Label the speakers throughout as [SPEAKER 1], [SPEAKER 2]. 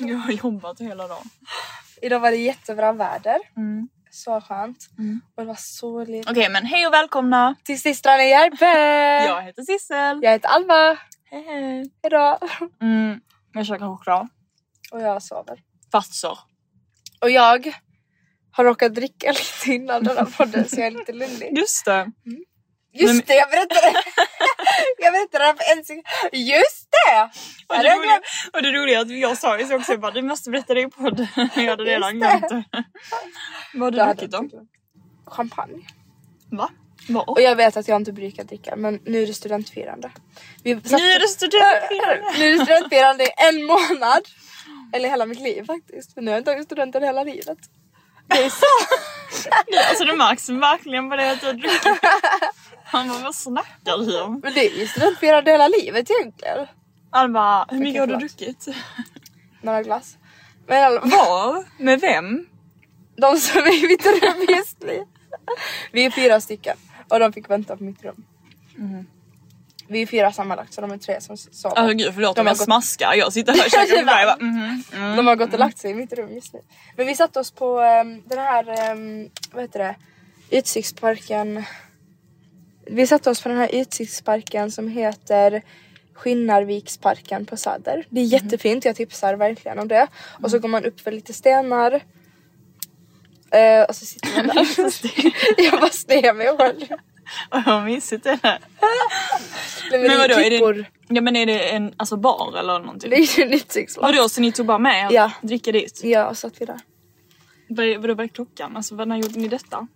[SPEAKER 1] Jag har jobbat hela dagen.
[SPEAKER 2] Idag var det jättebra väder.
[SPEAKER 1] Mm.
[SPEAKER 2] Så skönt. Och det var soligt.
[SPEAKER 1] Okej men hej och välkomna!
[SPEAKER 2] Till systrarna Järpe!
[SPEAKER 1] Jag heter Sissel.
[SPEAKER 2] Jag heter Alma.
[SPEAKER 1] Hej hej!
[SPEAKER 2] Hejdå.
[SPEAKER 1] Mm, jag käkar choklad.
[SPEAKER 2] Och jag sover.
[SPEAKER 1] Fast så.
[SPEAKER 2] Och jag har råkat dricka lite innan den här podden så jag är lite lullig.
[SPEAKER 1] Just det.
[SPEAKER 2] Just det, jag berättade Jag berättade det här för en sekund. Just det!
[SPEAKER 1] Och
[SPEAKER 2] Ja,
[SPEAKER 1] det,
[SPEAKER 2] det var
[SPEAKER 1] roliga, och det roliga är att jag sa ju så också, jag bara du måste berätta det i podden. Jag hade
[SPEAKER 2] Just
[SPEAKER 1] redan
[SPEAKER 2] det.
[SPEAKER 1] glömt det. Vad
[SPEAKER 2] Jag
[SPEAKER 1] har du
[SPEAKER 2] hade
[SPEAKER 1] druckit då?
[SPEAKER 2] inte glömt. Champagne.
[SPEAKER 1] Va? Vad?
[SPEAKER 2] Och jag vet att jag inte brukar dricka men nu är det studentfirande. Vi satt-
[SPEAKER 1] Nu är det studentfirande.
[SPEAKER 2] Nu är det studentfirande i en månad. Eller hela mitt liv faktiskt. För nu har jag tagit studenten hela livet. Det är så.
[SPEAKER 1] Alltså det märks verkligen på det att jag dricker. Han bara vad snackar du om?
[SPEAKER 2] Men det är ju studentfirande hela livet egentligen.
[SPEAKER 1] Han bara hur mycket har du
[SPEAKER 2] förlåt.
[SPEAKER 1] druckit?
[SPEAKER 2] Några glass. Men i alla fall,
[SPEAKER 1] Var? Med vem?
[SPEAKER 2] de som är i mitt rum just nu. Vi är fyra stycken och de fick vänta på mitt rum. Vi är fyra sammanlagt så de är tre som sover.
[SPEAKER 1] Mm. Åh Alltså, gud förlåt
[SPEAKER 2] De
[SPEAKER 1] om
[SPEAKER 2] har
[SPEAKER 1] jag
[SPEAKER 2] gått-
[SPEAKER 1] smaskar. Jag sitter här och käkar
[SPEAKER 2] Det var-
[SPEAKER 1] choklad. Jag bara, mhm, mm.
[SPEAKER 2] De har gått och lagt sig i mitt rum just nu. Men vi satte oss på ehm, den här, ehm, vad heter det, utsiktsparken. Vi satte oss på den här utsiktsparken som heter Skinnarviksparken på Söder.
[SPEAKER 1] Mhm.
[SPEAKER 2] Det är jättefint, jag tipsar verkligen om det. Och
[SPEAKER 1] Mm.
[SPEAKER 2] så går man upp för lite stenar. Eh, och så sitter man där. jag bara snear mig själv.
[SPEAKER 1] Åh, Vad mysigt det är.
[SPEAKER 2] Nej, men
[SPEAKER 1] Men
[SPEAKER 2] det
[SPEAKER 1] vadå
[SPEAKER 2] är
[SPEAKER 1] är
[SPEAKER 2] klippor.
[SPEAKER 1] det, ja, men är det en alltså bar eller någonting?
[SPEAKER 2] Det är ju en utsiktspark.
[SPEAKER 1] Vadå så ni tog bara med att
[SPEAKER 2] Ja.
[SPEAKER 1] dricka dit?
[SPEAKER 2] Ja, och satt vi där.
[SPEAKER 1] Vad- Vadå vad är klockan? Alltså vad- när gjorde ni detta?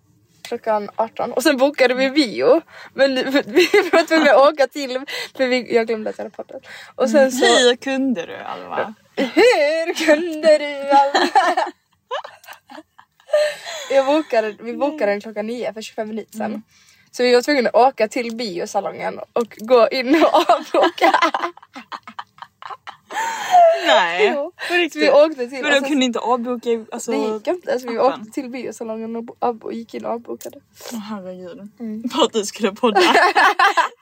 [SPEAKER 2] klockan 18 och sen bokade vi bio. Men nu- för- vi var tvungna att åka till för vi, jag glömde att jag hade podden. Och sen så
[SPEAKER 1] Hur kunde du Alva?
[SPEAKER 2] hur kunde du alla? jag bokade, vi bokade den klockan 9 för 25 minuter sedan. Så vi var tvungna att åka till biosalongen och gå in och avboka.
[SPEAKER 1] Nej.
[SPEAKER 2] Jo.
[SPEAKER 1] På
[SPEAKER 2] Så vi
[SPEAKER 1] riktigt.
[SPEAKER 2] åkte till. alltså-
[SPEAKER 1] Men
[SPEAKER 2] och
[SPEAKER 1] de
[SPEAKER 2] sen-
[SPEAKER 1] kunde inte avboka i- alltså...
[SPEAKER 2] det gick inte. Alltså, vi
[SPEAKER 1] appen.
[SPEAKER 2] åkte till biosalongen och, bo- ab- och gick in och avbokade.
[SPEAKER 1] Åh herregud.
[SPEAKER 2] Mm.
[SPEAKER 1] För att du skulle podda.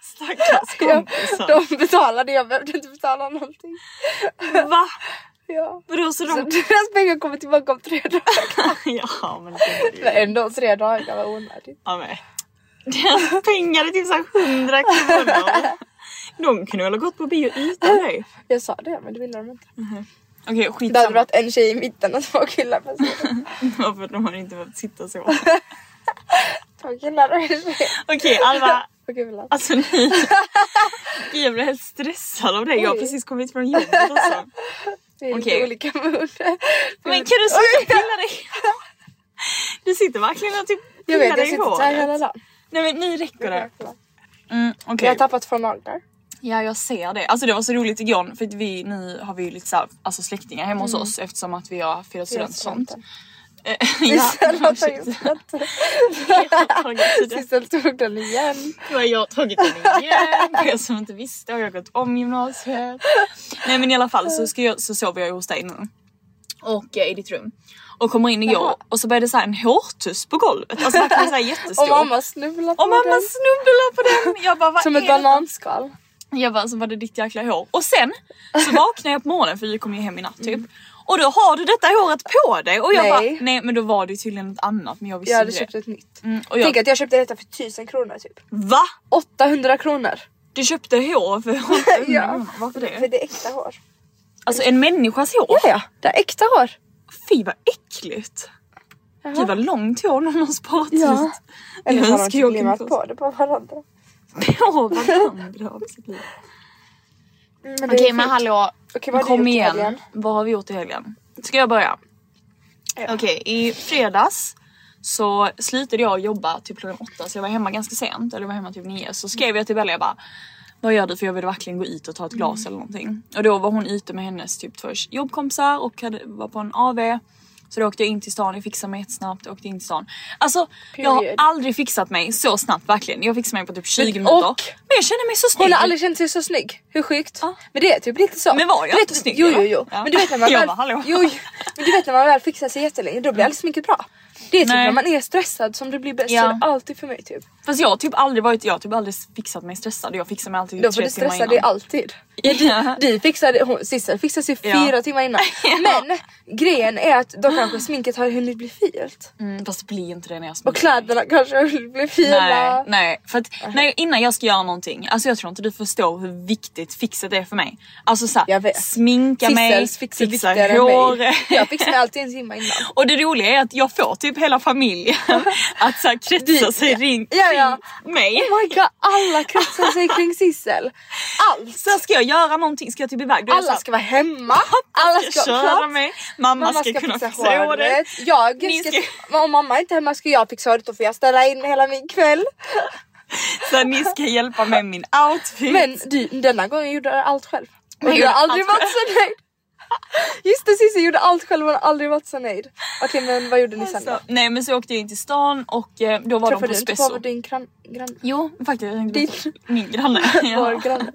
[SPEAKER 1] Stackars kompisar.
[SPEAKER 2] De betalade, jag behövde inte betala någonting.
[SPEAKER 1] Va?
[SPEAKER 2] Ja.
[SPEAKER 1] Vadå så
[SPEAKER 2] Så
[SPEAKER 1] de...
[SPEAKER 2] deras pengar kommer tillbaka om tre dagar.
[SPEAKER 1] ja men det är
[SPEAKER 2] Men
[SPEAKER 1] ju...
[SPEAKER 2] ändå tre dagar var onödigt.
[SPEAKER 1] Ja men. Deras pengar är typ såhär 100 kronor. De kunde väl ha gått på bio utan dig?
[SPEAKER 2] Jag sa det men det ville de inte.
[SPEAKER 1] Okej
[SPEAKER 2] Det hade
[SPEAKER 1] skitsamma.
[SPEAKER 2] varit en tjej i mitten och två killar på sidan.
[SPEAKER 1] Varför de har inte behövt sitta så. Okej
[SPEAKER 2] Två killar och en tjej.
[SPEAKER 1] Alva.
[SPEAKER 2] Och killar.
[SPEAKER 1] Alltså ni... Gud, Jag blev helt stressad av dig. Jag har
[SPEAKER 2] Oj.
[SPEAKER 1] precis kommit från jobbet alltså.
[SPEAKER 2] Det är
[SPEAKER 1] okej.
[SPEAKER 2] lite olika mood.
[SPEAKER 1] Men kan du sluta pilla dig? Du sitter verkligen och typ
[SPEAKER 2] Jag
[SPEAKER 1] pillar
[SPEAKER 2] vet
[SPEAKER 1] dig
[SPEAKER 2] jag
[SPEAKER 1] i
[SPEAKER 2] sitter såhär hela
[SPEAKER 1] håret.
[SPEAKER 2] dagen.
[SPEAKER 1] Nej men nu räcker det. Mm,
[SPEAKER 2] Jag
[SPEAKER 1] Okej.
[SPEAKER 2] har tappat från naglar.
[SPEAKER 1] Ja jag ser det. Alltså det var så roligt igår
[SPEAKER 2] Mm.
[SPEAKER 1] för att vi, nu har vi ju lite så här, alltså släktingar hemma hos oss eftersom att vi har firat student och sånt.
[SPEAKER 2] Sissel har tagit skratt.
[SPEAKER 1] tagit
[SPEAKER 2] Sissel tog den igen.
[SPEAKER 1] Nu har jag tagit den igen. För jag som inte visste har jag gått om gymnasiet. Nej men i alla fall så, ska jag, så sover jag hos dig nu. Och eh, i ditt rum. Och kommer in igår och så började så här en hårtuss på golvet. Alltså verkligen såhär jättestor.
[SPEAKER 2] Och mamma snubblade på
[SPEAKER 1] Och mamma
[SPEAKER 2] den.
[SPEAKER 1] snubblar på den. Jag bara vad
[SPEAKER 2] Som
[SPEAKER 1] är
[SPEAKER 2] ett
[SPEAKER 1] det?
[SPEAKER 2] bananskal.
[SPEAKER 1] Jag bara, så var det ditt jäkla hår. Och sen så vaknade jag på morgonen för vi kom ju hem i natt typ. Och då har du detta håret på dig och jag
[SPEAKER 2] Mm. Nej.
[SPEAKER 1] bara nej men då var det ju tydligen något annat men jag visste
[SPEAKER 2] Jag hade
[SPEAKER 1] inte
[SPEAKER 2] köpt ett nytt.
[SPEAKER 1] det. Mm, och jag,
[SPEAKER 2] Tänk att jag köpte detta för 1000 kronor typ.
[SPEAKER 1] va?
[SPEAKER 2] 800 kronor.
[SPEAKER 1] Du köpte hår för
[SPEAKER 2] Ja.
[SPEAKER 1] Varför
[SPEAKER 2] För
[SPEAKER 1] det?
[SPEAKER 2] det är äkta hår.
[SPEAKER 1] Alltså en människas hår?
[SPEAKER 2] Ja ja, det är äkta hår.
[SPEAKER 1] Fy vad äckligt. Gud vad långt hår någon har sparat
[SPEAKER 2] Ja.
[SPEAKER 1] ut.
[SPEAKER 2] Eller
[SPEAKER 1] Jag
[SPEAKER 2] har
[SPEAKER 1] önskar
[SPEAKER 2] de
[SPEAKER 1] jag
[SPEAKER 2] typ
[SPEAKER 1] kunde
[SPEAKER 2] limmat
[SPEAKER 1] få-
[SPEAKER 2] på det på varandra?
[SPEAKER 1] Åh vad andra av sitt liv.
[SPEAKER 2] Men det är
[SPEAKER 1] Okej
[SPEAKER 2] fint.
[SPEAKER 1] men hallå.
[SPEAKER 2] Okej, vad har du
[SPEAKER 1] Kom
[SPEAKER 2] gjort i
[SPEAKER 1] igen.
[SPEAKER 2] helgen?
[SPEAKER 1] Vad har vi gjort i helgen? Ska jag börja?
[SPEAKER 2] Ja.
[SPEAKER 1] Okej, i fredags så slutade jag jobba typ klockan åtta så jag var hemma ganska sent, eller jag var hemma typ nio. Så skrev jag till Bella jag bara vad gör du för jag vill verkligen gå ut och ta ett glas
[SPEAKER 2] Mm.
[SPEAKER 1] eller någonting. Och då var hon ute med hennes typ två jobbkompisar och hade, var på en AV. Så då åkte jag in till stan, jag fixade mig jättesnabbt, åkte in till stan. Alltså jag har
[SPEAKER 2] Period.
[SPEAKER 1] aldrig fixat mig så snabbt verkligen. Jag fixade mig på typ 20
[SPEAKER 2] Men-
[SPEAKER 1] minuter.
[SPEAKER 2] och-
[SPEAKER 1] Men jag känner mig så snygg.
[SPEAKER 2] Hon har aldrig känt sig så snygg. Hur sjukt?
[SPEAKER 1] Ja.
[SPEAKER 2] Men det är typ lite så.
[SPEAKER 1] Men var jag
[SPEAKER 2] Du
[SPEAKER 1] inte snygg,
[SPEAKER 2] Jo,
[SPEAKER 1] eller?
[SPEAKER 2] jo, jo.
[SPEAKER 1] Ja.
[SPEAKER 2] Men du vet när man
[SPEAKER 1] Jag
[SPEAKER 2] väl,
[SPEAKER 1] bara, hallå.
[SPEAKER 2] jo, jo. Men du vet när man väl fixar sig jättelänge då blir aldrig sminket bra. Det är typ
[SPEAKER 1] Nej.
[SPEAKER 2] när man är stressad som det blir bäst.
[SPEAKER 1] Ja.
[SPEAKER 2] Så är det alltid för mig typ.
[SPEAKER 1] Fast jag har typ aldrig varit, jag har typ aldrig fixat mig stressad. Jag fixar mig alltid typ
[SPEAKER 2] Då
[SPEAKER 1] tre
[SPEAKER 2] får du
[SPEAKER 1] timmar
[SPEAKER 2] stressa
[SPEAKER 1] innan.
[SPEAKER 2] dig alltid.
[SPEAKER 1] Ja.
[SPEAKER 2] Du fixade, hon, Sissel fixade sig
[SPEAKER 1] Ja.
[SPEAKER 2] fyra timmar innan. Men grejen är att då kanske sminket har hunnit bli filt.
[SPEAKER 1] Mm, fast det blir inte det när jag
[SPEAKER 2] Och
[SPEAKER 1] sminkar mig.
[SPEAKER 2] kläderna Äh. kanske har hunnit bli fila.
[SPEAKER 1] Mm. Nej, nej. För att när jag, innan jag ska göra någonting, alltså jag tror inte du förstår hur viktigt fixet är för mig. Alltså
[SPEAKER 2] Jag
[SPEAKER 1] såhär,
[SPEAKER 2] vet.
[SPEAKER 1] sminka mig,
[SPEAKER 2] Sissels fix är
[SPEAKER 1] fixa
[SPEAKER 2] viktigare än
[SPEAKER 1] håret.
[SPEAKER 2] mig. Jag fixar mig alltid en timme innan.
[SPEAKER 1] Och det roliga är att jag får typ hela familjen att så här kretsa sig ring,
[SPEAKER 2] Ja, ja.
[SPEAKER 1] kring mig.
[SPEAKER 2] Oh my god, alla kretsar sig kring Sissel. Allt!
[SPEAKER 1] Så här, ska jag göra någonting, ska jag till iväg, då är jag så
[SPEAKER 2] Alla
[SPEAKER 1] här,
[SPEAKER 2] ska vara hemma, alla ska
[SPEAKER 1] köra
[SPEAKER 2] klart.
[SPEAKER 1] mig, mamma, ska, kunna fixa håret.
[SPEAKER 2] Jag
[SPEAKER 1] Ni
[SPEAKER 2] ska,
[SPEAKER 1] ska-
[SPEAKER 2] Om mamma inte är hemma ska jag fixa håret, då får jag ställa in hela min kväll.
[SPEAKER 1] Så här, ni ska hjälpa mig med min outfit.
[SPEAKER 2] Men du, denna gången gjorde jag allt själv. Och
[SPEAKER 1] jag
[SPEAKER 2] jag
[SPEAKER 1] gjorde
[SPEAKER 2] har aldrig
[SPEAKER 1] allt
[SPEAKER 2] varit så nöjd. Just det Cissi gjorde allt själv och har aldrig varit så nöjd. Okej men vad gjorde ni sen
[SPEAKER 1] så,
[SPEAKER 2] då?
[SPEAKER 1] nej men så åkte jag in till stan och eh, då var
[SPEAKER 2] Träffade
[SPEAKER 1] de
[SPEAKER 2] du
[SPEAKER 1] på
[SPEAKER 2] inte
[SPEAKER 1] Spesso.
[SPEAKER 2] på din gran- granne?
[SPEAKER 1] Jo, faktiskt. Jag tänkte
[SPEAKER 2] Din-
[SPEAKER 1] på Min granne.
[SPEAKER 2] Vår granne.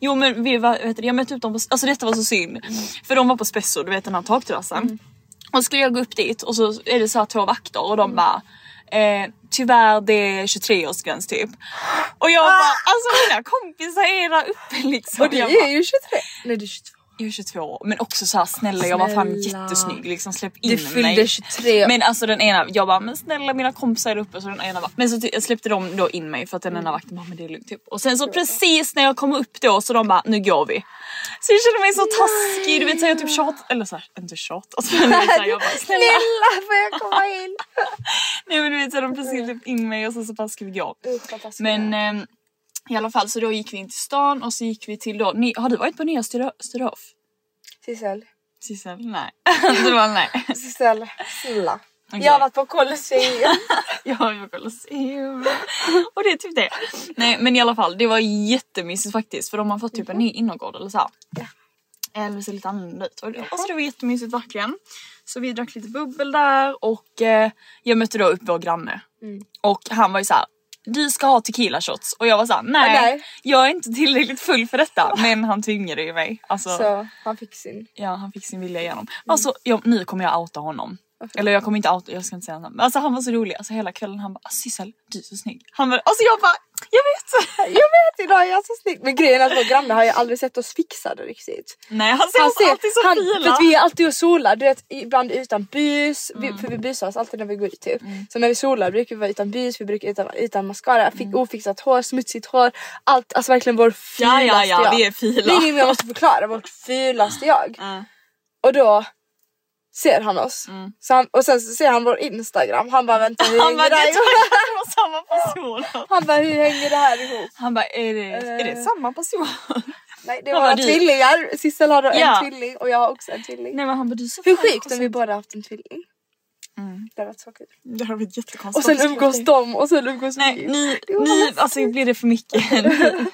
[SPEAKER 1] Jo men vi var, vet du, jag mötte upp dem på, alltså detta var så synd.
[SPEAKER 2] Mm.
[SPEAKER 1] För de var på Spesso, du vet den här takterrassen. Och så skulle jag gå upp dit och så är det så här två vakter och de
[SPEAKER 2] Mm.
[SPEAKER 1] bara eh, Tyvärr det är 23-årsgräns typ. Och jag bara alltså mina kompisar är där uppe liksom.
[SPEAKER 2] Ah! Och du
[SPEAKER 1] jag,
[SPEAKER 2] är ju 23. Nej du är 22.
[SPEAKER 1] jag är 22 men också så här snälla jag var fan
[SPEAKER 2] Snälla.
[SPEAKER 1] jättesnygg liksom släpp in
[SPEAKER 2] Du
[SPEAKER 1] mig.
[SPEAKER 2] fyllde 23.
[SPEAKER 1] Men alltså den ena, jag bara men snälla mina kompisar är uppe så den ena bara, Men så ty- släppte de då in mig för att den ena vakten bara men det är lugnt typ. Och sen så precis när jag kom upp då så de bara nu går vi. Så jag kände mig så taskig, du vet såhär jag typ tjatat, eller såhär inte tjatat men du vet, såhär, jag bara snälla.
[SPEAKER 2] Snälla får jag komma in?
[SPEAKER 1] Nej men du vet såhär de precis släppte in mig och sen så bara ska vi gå.
[SPEAKER 2] Usch, vad taskigt.
[SPEAKER 1] Men ehm, i alla fall så då gick vi in till stan och så gick vi till då, ni, har du varit på nya Sturehof? Sturehof?
[SPEAKER 2] Sissel,
[SPEAKER 1] Sissel? Nej. det var nej.
[SPEAKER 2] Sissel, snälla.
[SPEAKER 1] Okej.
[SPEAKER 2] Jag har varit på Colosseum.
[SPEAKER 1] Jag har ju Colosseum. Och det är typ det. Nej men i alla fall, det var jättemysigt faktiskt för de har fått typ en ny innergård eller så här. Eller ser lite annorlunda ut. Och det, alltså det var jättemysigt verkligen. Så vi drack lite bubbel där och eh, jag mötte då upp vår granne.
[SPEAKER 2] Mm.
[SPEAKER 1] Och han var ju så här. Du ska ha tequila shots och jag var såhär nej,
[SPEAKER 2] Ah, nej.
[SPEAKER 1] jag är inte tillräckligt full för detta men han tvingade ju mig. Alltså,
[SPEAKER 2] Så han fick sin.
[SPEAKER 1] Ja, han fick sin vilja igenom.
[SPEAKER 2] Mm.
[SPEAKER 1] Alltså, jag, nu kommer jag outa honom. Eller jag kommer inte outa, jag ska inte säga hans namn. Men Alltså han var så rolig. Alltså hela kvällen han bara "Ah, Sissel, du är så snygg. Han bara, alltså jag bara, jag vet!
[SPEAKER 2] Jag vet idag är jag så snygg. Men grejen är att vår granne har ju aldrig sett oss fixade riktigt.
[SPEAKER 1] Nej han ser oss Alltså, alltid så
[SPEAKER 2] han, För
[SPEAKER 1] fila.
[SPEAKER 2] att vi är alltid och solar, du vet ibland utan bus.
[SPEAKER 1] Mm.
[SPEAKER 2] Vi, för vi busar oss alltid när vi går ut typ. Så när vi solar brukar vi vara utan bus, vi brukar utan, utan mascara, fick
[SPEAKER 1] Mm.
[SPEAKER 2] ofixat hår, smutsigt hår. Allt, alltså verkligen vår
[SPEAKER 1] ja, ja,
[SPEAKER 2] fulaste jag.
[SPEAKER 1] vi är fila.
[SPEAKER 2] Nej, nej men jag måste förklara, vårt fulaste jag.
[SPEAKER 1] Ja. Mm.
[SPEAKER 2] Och då ser han oss. Så han, och sen så ser han vår instagram, han bara vänta hur
[SPEAKER 1] Han bara,
[SPEAKER 2] hänger
[SPEAKER 1] det
[SPEAKER 2] det här ihop?
[SPEAKER 1] är samma person.
[SPEAKER 2] Han bara hur hänger det här ihop?
[SPEAKER 1] Han bara, är det, är
[SPEAKER 2] Eh.
[SPEAKER 1] det samma person?
[SPEAKER 2] Nej det
[SPEAKER 1] Vad
[SPEAKER 2] var
[SPEAKER 1] var du?
[SPEAKER 2] tvillingar, Sissel har då
[SPEAKER 1] Ja.
[SPEAKER 2] en tvilling och jag har också en tvilling.
[SPEAKER 1] Nej men han bara, du är så
[SPEAKER 2] Hur
[SPEAKER 1] fin."
[SPEAKER 2] sjukt om vi båda haft en tvilling?
[SPEAKER 1] Mm.
[SPEAKER 2] Det hade varit så kul.
[SPEAKER 1] Det har varit
[SPEAKER 2] Och
[SPEAKER 1] jättekonstigt.
[SPEAKER 2] sen umgås de och sen umgås
[SPEAKER 1] Nej,
[SPEAKER 2] vi.
[SPEAKER 1] ni, ni, alltså blir det för mycket? Ni-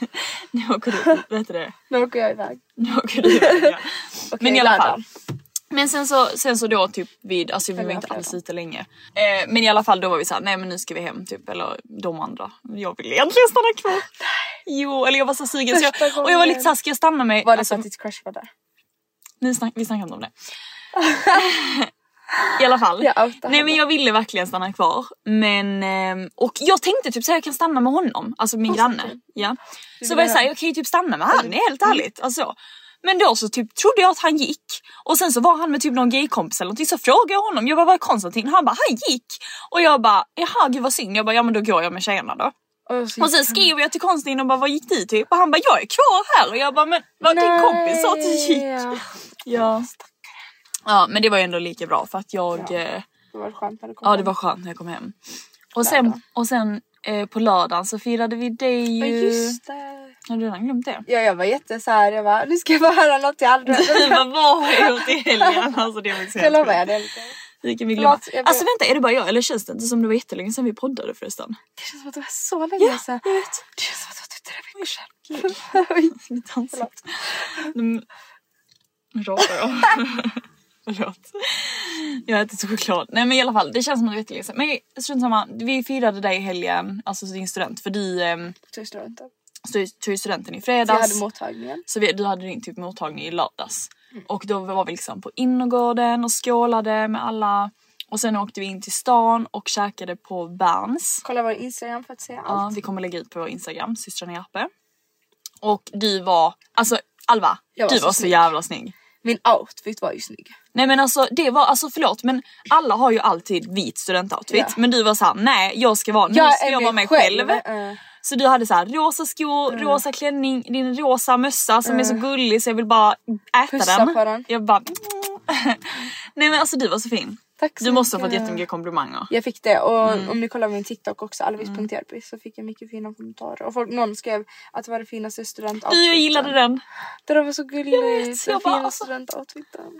[SPEAKER 1] Ni åker ut, vet du det?
[SPEAKER 2] Nu åker jag iväg.
[SPEAKER 1] Nu åker du iväg, ja.
[SPEAKER 2] Okej,
[SPEAKER 1] Men i alla
[SPEAKER 2] lördag.
[SPEAKER 1] fall. Men sen så, sen så då typ vid, alltså vi var
[SPEAKER 2] Eller
[SPEAKER 1] inte alls
[SPEAKER 2] fredag.
[SPEAKER 1] ute länge. Eh, men i alla fall då var vi såhär, nej men nu ska vi hem typ. Eller de andra. Jag ville egentligen stanna kvar. Jo, eller jag var så sugen. Så
[SPEAKER 2] Första
[SPEAKER 1] jag, och jag var lite
[SPEAKER 2] gången.
[SPEAKER 1] såhär, ska jag stanna med...
[SPEAKER 2] Var det
[SPEAKER 1] alltså,
[SPEAKER 2] så att ditt crush var där?
[SPEAKER 1] ni snack, vi snackade inte om det. I alla fall.
[SPEAKER 2] Jag outar
[SPEAKER 1] Nej
[SPEAKER 2] henne.
[SPEAKER 1] men jag ville verkligen stanna kvar. Men, ehm, och jag tänkte typ såhär jag kan stanna med honom, alltså min granne. Ja. Så var jag såhär, jag kan ju typ stanna med
[SPEAKER 2] Mm.
[SPEAKER 1] han, helt ärligt. Alltså. Men då så typ trodde jag att han gick och sen så var han med typ någon gaykompis eller någonting så frågade jag honom, jag bara var är Konstantin? Han bara han gick och jag bara jaha gud vad synd, jag bara ja men då går jag med tjejerna då.
[SPEAKER 2] Och så
[SPEAKER 1] Och sen skrev jag till Konstantin och bara vad gick du typ? Och han bara jag är kvar här och jag bara men vad din kompis sa att du gick.
[SPEAKER 2] Nej.
[SPEAKER 1] Ja. ja men det var ju ändå lika bra för att jag
[SPEAKER 2] Ja.
[SPEAKER 1] eh,
[SPEAKER 2] Det var skönt när du kom
[SPEAKER 1] Ja det
[SPEAKER 2] hem.
[SPEAKER 1] var skönt när jag kom hem. Och sen,
[SPEAKER 2] Lördag.
[SPEAKER 1] och sen eh, på lördagen så firade vi dig
[SPEAKER 2] Ja,
[SPEAKER 1] ju...
[SPEAKER 2] just det.
[SPEAKER 1] Har du redan glömt det?
[SPEAKER 2] Ja, jag var jätte så här, jag bara nu ska jag bara höra något jag aldrig
[SPEAKER 1] Vad var jag gjort i helgen? Alltså det var faktiskt
[SPEAKER 2] Jag
[SPEAKER 1] helt
[SPEAKER 2] la med
[SPEAKER 1] sjukt.
[SPEAKER 2] det lite.
[SPEAKER 1] Hur kan vi glömma?
[SPEAKER 2] Förlåt, jag ber-
[SPEAKER 1] Alltså vänta, är det bara jag eller känns det inte som det var jättelänge sedan vi poddade förresten?
[SPEAKER 2] Det känns som att det var så länge sedan.
[SPEAKER 1] jag vet.
[SPEAKER 2] Det känns som att det var typ tre veckor sedan.
[SPEAKER 1] Mitt ansikte. Mm. Nu rapar jag. Förlåt. Jag äter så choklad. Nej men i alla fall, det känns som att det var jättelänge sedan. Men strunt samma, vi firade dig i helgen, alltså din student. För du ehm,
[SPEAKER 2] Tyst då inte.
[SPEAKER 1] tog- tog ju studenten i
[SPEAKER 2] Så Jag
[SPEAKER 1] fredags.
[SPEAKER 2] hade mottagningen.
[SPEAKER 1] Så vi, du hade din typ mottagning i lördags. Och då var vi liksom på innergården och skålade med alla. Och sen åkte vi in till stan och käkade på Berns.
[SPEAKER 2] Kolla vår Instagram för att se
[SPEAKER 1] Ja,
[SPEAKER 2] allt.
[SPEAKER 1] vi kommer lägga ut på vår Instagram, systrarna Järpe. Och du var, alltså Alva,
[SPEAKER 2] Jag var
[SPEAKER 1] du
[SPEAKER 2] så
[SPEAKER 1] var så
[SPEAKER 2] snygg.
[SPEAKER 1] jävla snygg.
[SPEAKER 2] Min outfit var ju snygg.
[SPEAKER 1] Nej men alltså det var, alltså förlåt men alla har ju alltid vit studentoutfit.
[SPEAKER 2] Ja.
[SPEAKER 1] Men du var såhär, nej jag ska vara, nu ska jag vara mig själv.
[SPEAKER 2] Eh,
[SPEAKER 1] Så du hade så här rosa skor,
[SPEAKER 2] Mm.
[SPEAKER 1] rosa klänning, din rosa mössa som är så gullig så jag vill bara äta
[SPEAKER 2] Pussa
[SPEAKER 1] den.
[SPEAKER 2] på den.
[SPEAKER 1] Jag bara... "Mm." Nej men alltså du var så fin.
[SPEAKER 2] Tack så
[SPEAKER 1] Du måste ha fått
[SPEAKER 2] mycket.
[SPEAKER 1] jättemycket Mm. komplimanger.
[SPEAKER 2] Jag fick det och om ni kollar min TikTok också,
[SPEAKER 1] Mm.
[SPEAKER 2] alvis.jerpy, så fick jag mycket fina kommentarer. Och folk, någon skrev att det var det finaste studentoutfiten.
[SPEAKER 1] Du jag gillade den.
[SPEAKER 2] Det där var så gulligt.
[SPEAKER 1] vet,
[SPEAKER 2] den
[SPEAKER 1] jag bara,
[SPEAKER 2] fina
[SPEAKER 1] alltså.
[SPEAKER 2] studentoutfiten.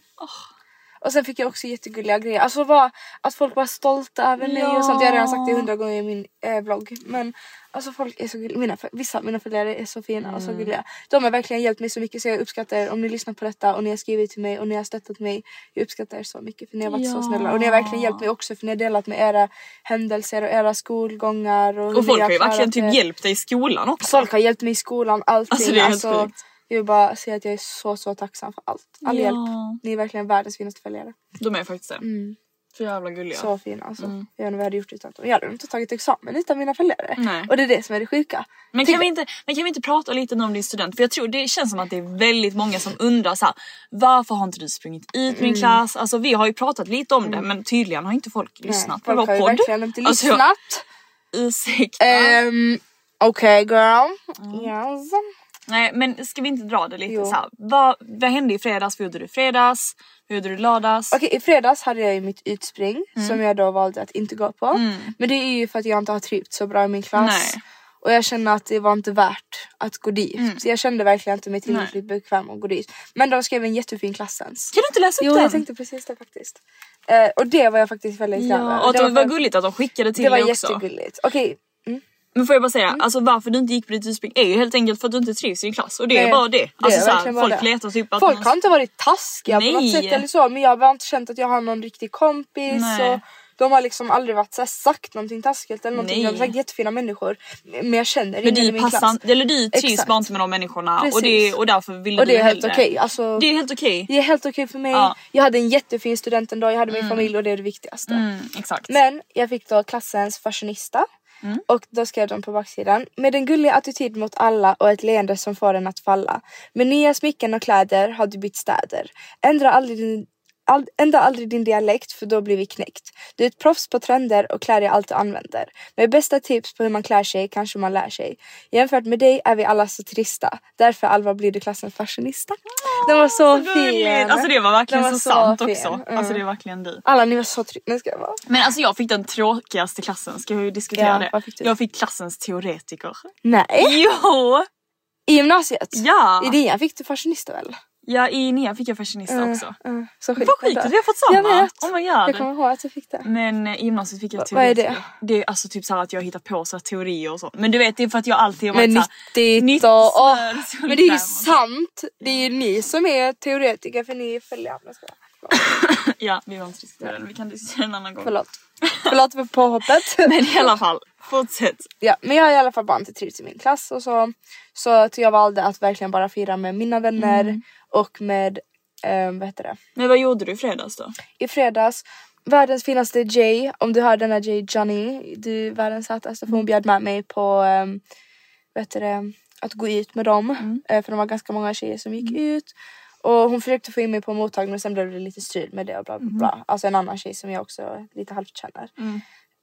[SPEAKER 2] Och sen fick jag också jättegulliga grejer. Alltså bara, att folk var stolta över mig och sånt. Jag har redan sagt det hundra gånger i min eh, vlogg. Men alltså folk är så gulliga. Mina, föl- vissa av mina följare är så fina och så
[SPEAKER 1] Mm.
[SPEAKER 2] gulliga. De har verkligen hjälpt mig så mycket så jag uppskattar er om ni lyssnar på detta och ni har skrivit till mig och ni har stöttat mig. Jag uppskattar er så mycket för ni har varit så
[SPEAKER 1] Ja.
[SPEAKER 2] snälla. Och ni har verkligen hjälpt mig också för ni har delat med era händelser och era skolgångar. Och, hur
[SPEAKER 1] Och
[SPEAKER 2] ni
[SPEAKER 1] folk har ju
[SPEAKER 2] klarat
[SPEAKER 1] verkligen
[SPEAKER 2] er.
[SPEAKER 1] typ hjälpt dig i skolan också.
[SPEAKER 2] Folk har hjälpt mig i skolan, allting.
[SPEAKER 1] Alltså, det är helt sjukt.
[SPEAKER 2] jag vill bara säga att jag är så så tacksam för allt. All
[SPEAKER 1] Ja.
[SPEAKER 2] hjälp. Ni är verkligen världens finaste följare.
[SPEAKER 1] De är faktiskt det. Så jävla gulliga.
[SPEAKER 2] Mm. Så fina alltså.
[SPEAKER 1] Mm.
[SPEAKER 2] Jag vet inte vad jag hade gjort utan dem. Jag hade inte tagit examen utan mina följare.
[SPEAKER 1] Nej.
[SPEAKER 2] Och det är det som är det sjuka.
[SPEAKER 1] Men kan, vi inte, men kan vi inte prata lite nu om din student? För jag tror det känns som att det är väldigt många som undrar så här, varför har inte du sprungit ut
[SPEAKER 2] Mm.
[SPEAKER 1] min klass? Alltså vi har ju pratat lite om det men tydligen har inte folk lyssnat på
[SPEAKER 2] folk
[SPEAKER 1] vår
[SPEAKER 2] har ju
[SPEAKER 1] podd.
[SPEAKER 2] verkligen inte
[SPEAKER 1] Alltså, jag-
[SPEAKER 2] lyssnat.
[SPEAKER 1] Ursäkta.
[SPEAKER 2] Ehm, Okej girl.
[SPEAKER 1] Mm.
[SPEAKER 2] Yes.
[SPEAKER 1] Nej men ska vi inte dra det lite
[SPEAKER 2] Jo.
[SPEAKER 1] så här? Vad, vad hände i fredags? Vad gjorde du i fredags? Hur gjorde du i lördags?
[SPEAKER 2] Okej i fredags hade jag ju mitt utspring
[SPEAKER 1] Mm.
[SPEAKER 2] som jag då valde att inte gå på. Men det är ju för att jag inte har trivts så bra i min klass.
[SPEAKER 1] Nej. Mm.
[SPEAKER 2] Och jag kände att det var inte värt att gå dit. Så jag kände verkligen inte mig tillräckligt bekväm att gå dit. Men de skrev en jättefin klassens.
[SPEAKER 1] Kan du inte läsa upp
[SPEAKER 2] Jo
[SPEAKER 1] den?
[SPEAKER 2] jag tänkte precis det faktiskt. Eh, och det var jag faktiskt väldigt glad
[SPEAKER 1] ja, och att det var gulligt att de skickade till
[SPEAKER 2] Det var
[SPEAKER 1] dig också.
[SPEAKER 2] jättegulligt. Mm. Okej
[SPEAKER 1] Men får jag bara säga, alltså varför du inte gick på ditt utspring är ju helt enkelt för att du inte trivs i din klass och det är
[SPEAKER 2] Nej,
[SPEAKER 1] bara det.
[SPEAKER 2] det
[SPEAKER 1] Alltså
[SPEAKER 2] är
[SPEAKER 1] så här,
[SPEAKER 2] verkligen bara
[SPEAKER 1] folk
[SPEAKER 2] det.
[SPEAKER 1] letar typ att
[SPEAKER 2] folk
[SPEAKER 1] någon-
[SPEAKER 2] har inte varit taskiga på något
[SPEAKER 1] Nej.
[SPEAKER 2] sätt eller så men jag har bara inte känt att jag har någon riktig kompis.
[SPEAKER 1] Nej.
[SPEAKER 2] Och de har liksom aldrig varit så här, sagt någonting taskigt eller någonting.
[SPEAKER 1] Nej.
[SPEAKER 2] De har sagt jättefina människor men jag känner
[SPEAKER 1] Men
[SPEAKER 2] ingen i
[SPEAKER 1] du
[SPEAKER 2] min
[SPEAKER 1] passar
[SPEAKER 2] klass.
[SPEAKER 1] inte- eller du trivs
[SPEAKER 2] Exakt.
[SPEAKER 1] bara inte med de människorna och,
[SPEAKER 2] Precis.
[SPEAKER 1] det, och därför ville
[SPEAKER 2] Och
[SPEAKER 1] du
[SPEAKER 2] det är helt
[SPEAKER 1] hellre.
[SPEAKER 2] okej. Alltså,
[SPEAKER 1] Det är helt okej.
[SPEAKER 2] det är helt okej för mig.
[SPEAKER 1] Ja.
[SPEAKER 2] Jag hade en jättefin student ändå, jag hade min familj och det är det viktigaste.
[SPEAKER 1] Mm, exakt. Mm.
[SPEAKER 2] Men jag fick då klassens fashionista. Och då skrev de på baksidan. Med en gullig attityd mot alla och ett leende som får en att falla. Med nya smycken och kläder har du bytt städer. Ändra aldrig din All, ändra aldrig din dialekt för då blir vi knäckt. Du är ett proffs på trender och klär dig allt du använder. Med bästa tips på hur man klär sig kanske man lär sig. Jämfört med dig är vi alla så trista. Därför Alva blir du klassens fashionista. Den var så, fin!
[SPEAKER 1] Gulligt. Alltså det var verkligen
[SPEAKER 2] Den
[SPEAKER 1] så, sant
[SPEAKER 2] fin.
[SPEAKER 1] också.
[SPEAKER 2] Mm.
[SPEAKER 1] Alltså det är verkligen du.
[SPEAKER 2] Alla ni var så trygga. Nu ska jag vara.
[SPEAKER 1] Men alltså jag fick den tråkigaste klassen, ska vi diskutera
[SPEAKER 2] Ja,
[SPEAKER 1] det?
[SPEAKER 2] vad fick du?
[SPEAKER 1] jag fick klassens teoretiker.
[SPEAKER 2] Nej!
[SPEAKER 1] Jo!
[SPEAKER 2] I gymnasiet?
[SPEAKER 1] Ja!
[SPEAKER 2] I nian fick du fashionista väl?
[SPEAKER 1] Ja i nian fick jag fashionista också.
[SPEAKER 2] Uh, uh, så sjukt
[SPEAKER 1] Vad sjukt
[SPEAKER 2] ändå.
[SPEAKER 1] att vi har fått samma.
[SPEAKER 2] Jag vet.
[SPEAKER 1] Oh my god.
[SPEAKER 2] Jag kommer ihåg att jag fick det.
[SPEAKER 1] Men eh, i gymnasiet fick jag
[SPEAKER 2] vad är det?
[SPEAKER 1] teoretiker. Det är alltså typ så här att jag hittar på så här teorier och sånt. Men du vet det är för att jag alltid har varit
[SPEAKER 2] Men
[SPEAKER 1] så här,
[SPEAKER 2] 90
[SPEAKER 1] nytt
[SPEAKER 2] och...
[SPEAKER 1] snör,
[SPEAKER 2] Men det är ju
[SPEAKER 1] solkräm och-
[SPEAKER 2] sant! Det är ju ni som är teoretiker för ni är följare.
[SPEAKER 1] Ja, vi behöver inte diskutera det. Vi kan diskutera en annan gång.
[SPEAKER 2] Förlåt. Förlåt för påhoppet.
[SPEAKER 1] Men i alla fall, fortsätt.
[SPEAKER 2] ja, men jag har i alla fall barn till trivs i min klass och så. Så att jag valde att verkligen bara fira med mina vänner
[SPEAKER 1] Mm.
[SPEAKER 2] och med, eh, vad heter det?
[SPEAKER 1] Men vad gjorde du i fredags då?
[SPEAKER 2] I fredags, världens finaste Jay, om du hör denna Jay Johnny, du är världens sötaste för hon bjöd med mig på, eh, vad heter det, att gå ut med dem. Eh, för de var ganska många tjejer som gick ut. Och hon försökte få in mig på mottagningen men sen blev det lite strul med det och bla bla bla. Alltså en annan tjej som jag också lite halvt känner.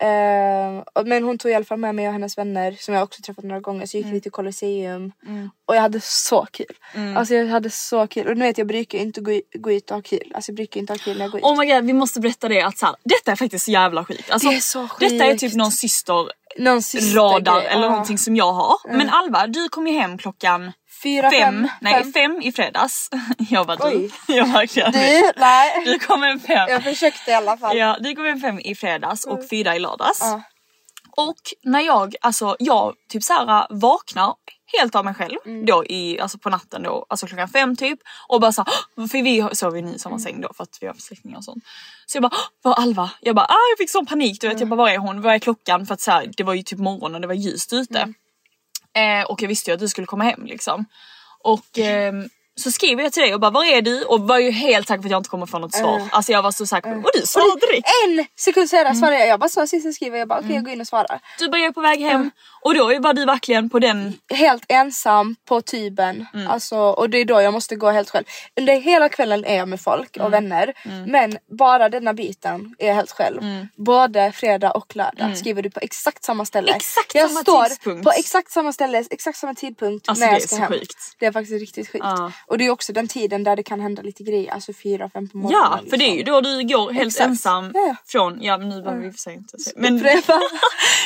[SPEAKER 2] Eh, och- men hon tog i alla fall med mig och hennes vänner som jag också träffat några gånger så gick vi till Colosseum och jag hade så kul. Alltså jag hade så kul och nu vet jag brukar ju inte gå, i- gå ut och ha kul. Alltså jag brukar inte ha kul när jag går ut.
[SPEAKER 1] Oh my god, vi måste berätta det att så här, detta är faktiskt så jävla sjukt. Alltså,
[SPEAKER 2] Det är så
[SPEAKER 1] Detta är typ
[SPEAKER 2] sjukt.
[SPEAKER 1] någon syster
[SPEAKER 2] Någon sista
[SPEAKER 1] radar
[SPEAKER 2] grej.
[SPEAKER 1] eller
[SPEAKER 2] Ja.
[SPEAKER 1] någonting som jag har. Men Alva, du kom ju hem klockan
[SPEAKER 2] Fyra,
[SPEAKER 1] fem,
[SPEAKER 2] fem.
[SPEAKER 1] nej
[SPEAKER 2] fem.
[SPEAKER 1] fem i fredags. Jag bara du.
[SPEAKER 2] Oj.
[SPEAKER 1] Jag verkligen.
[SPEAKER 2] Du, nej.
[SPEAKER 1] Du kom hem fem.
[SPEAKER 2] Jag försökte i alla fall. Mm.
[SPEAKER 1] Ja, du kom hem fem i fredags och fyra i lördags.
[SPEAKER 2] Ja.
[SPEAKER 1] Och när jag, alltså jag typ så här vaknar helt av mig själv
[SPEAKER 2] Mm.
[SPEAKER 1] då i, alltså på natten då, alltså klockan fem typ och bara så här, "Åh!" för vi har- sov ju i
[SPEAKER 2] Mm.
[SPEAKER 1] samma säng då för att vi har släktingar och sånt. Så jag bara, "Åh, var är Alva? Jag bara, ah, jag fick sån panik du vet,
[SPEAKER 2] Mm.
[SPEAKER 1] jag bara var är hon? Vad är klockan? För att så här, det var ju typ morgon och det var ljust ute.
[SPEAKER 2] Mm.
[SPEAKER 1] Eh, och jag visste ju att du skulle komma hem liksom. Och
[SPEAKER 2] Mm.
[SPEAKER 1] ehm, så skriver jag till dig och bara, var är du? Och var ju helt säker på att jag inte kommer få något
[SPEAKER 2] Mm.
[SPEAKER 1] svar. Alltså jag var så säker på Och du svarade direkt!
[SPEAKER 2] En sekund senare
[SPEAKER 1] Mm.
[SPEAKER 2] svarade jag. Jag bara så sista skriver jag bara okej jag går in och svarar.
[SPEAKER 1] Du bara, jag är på väg hem. Och då var du verkligen på den
[SPEAKER 2] Helt ensam på tuben.
[SPEAKER 1] Mm.
[SPEAKER 2] Alltså, och det är då jag måste gå helt själv. Under hela kvällen är jag med folk
[SPEAKER 1] Mm.
[SPEAKER 2] och vänner. Men bara denna biten är jag helt själv.
[SPEAKER 1] Mm.
[SPEAKER 2] Både fredag och lördag skriver du på exakt samma ställe.
[SPEAKER 1] Exakt
[SPEAKER 2] jag
[SPEAKER 1] samma
[SPEAKER 2] står
[SPEAKER 1] tidpunkt.
[SPEAKER 2] på exakt samma ställe, exakt samma tidpunkt
[SPEAKER 1] Alltså,
[SPEAKER 2] när
[SPEAKER 1] det
[SPEAKER 2] jag
[SPEAKER 1] är
[SPEAKER 2] ska
[SPEAKER 1] så
[SPEAKER 2] hem.
[SPEAKER 1] sjukt.
[SPEAKER 2] Det är faktiskt riktigt sjukt.
[SPEAKER 1] Ja.
[SPEAKER 2] Och det är också den tiden där det kan hända lite grejer. Alltså fyra, fem på morgonen. liksom.
[SPEAKER 1] Ja, för det är ju då du går helt
[SPEAKER 2] Exakt.
[SPEAKER 1] ensam
[SPEAKER 2] Ja, ja.
[SPEAKER 1] från, ja men nu behöver vi i och för sig inte säga. Men
[SPEAKER 2] Pröva.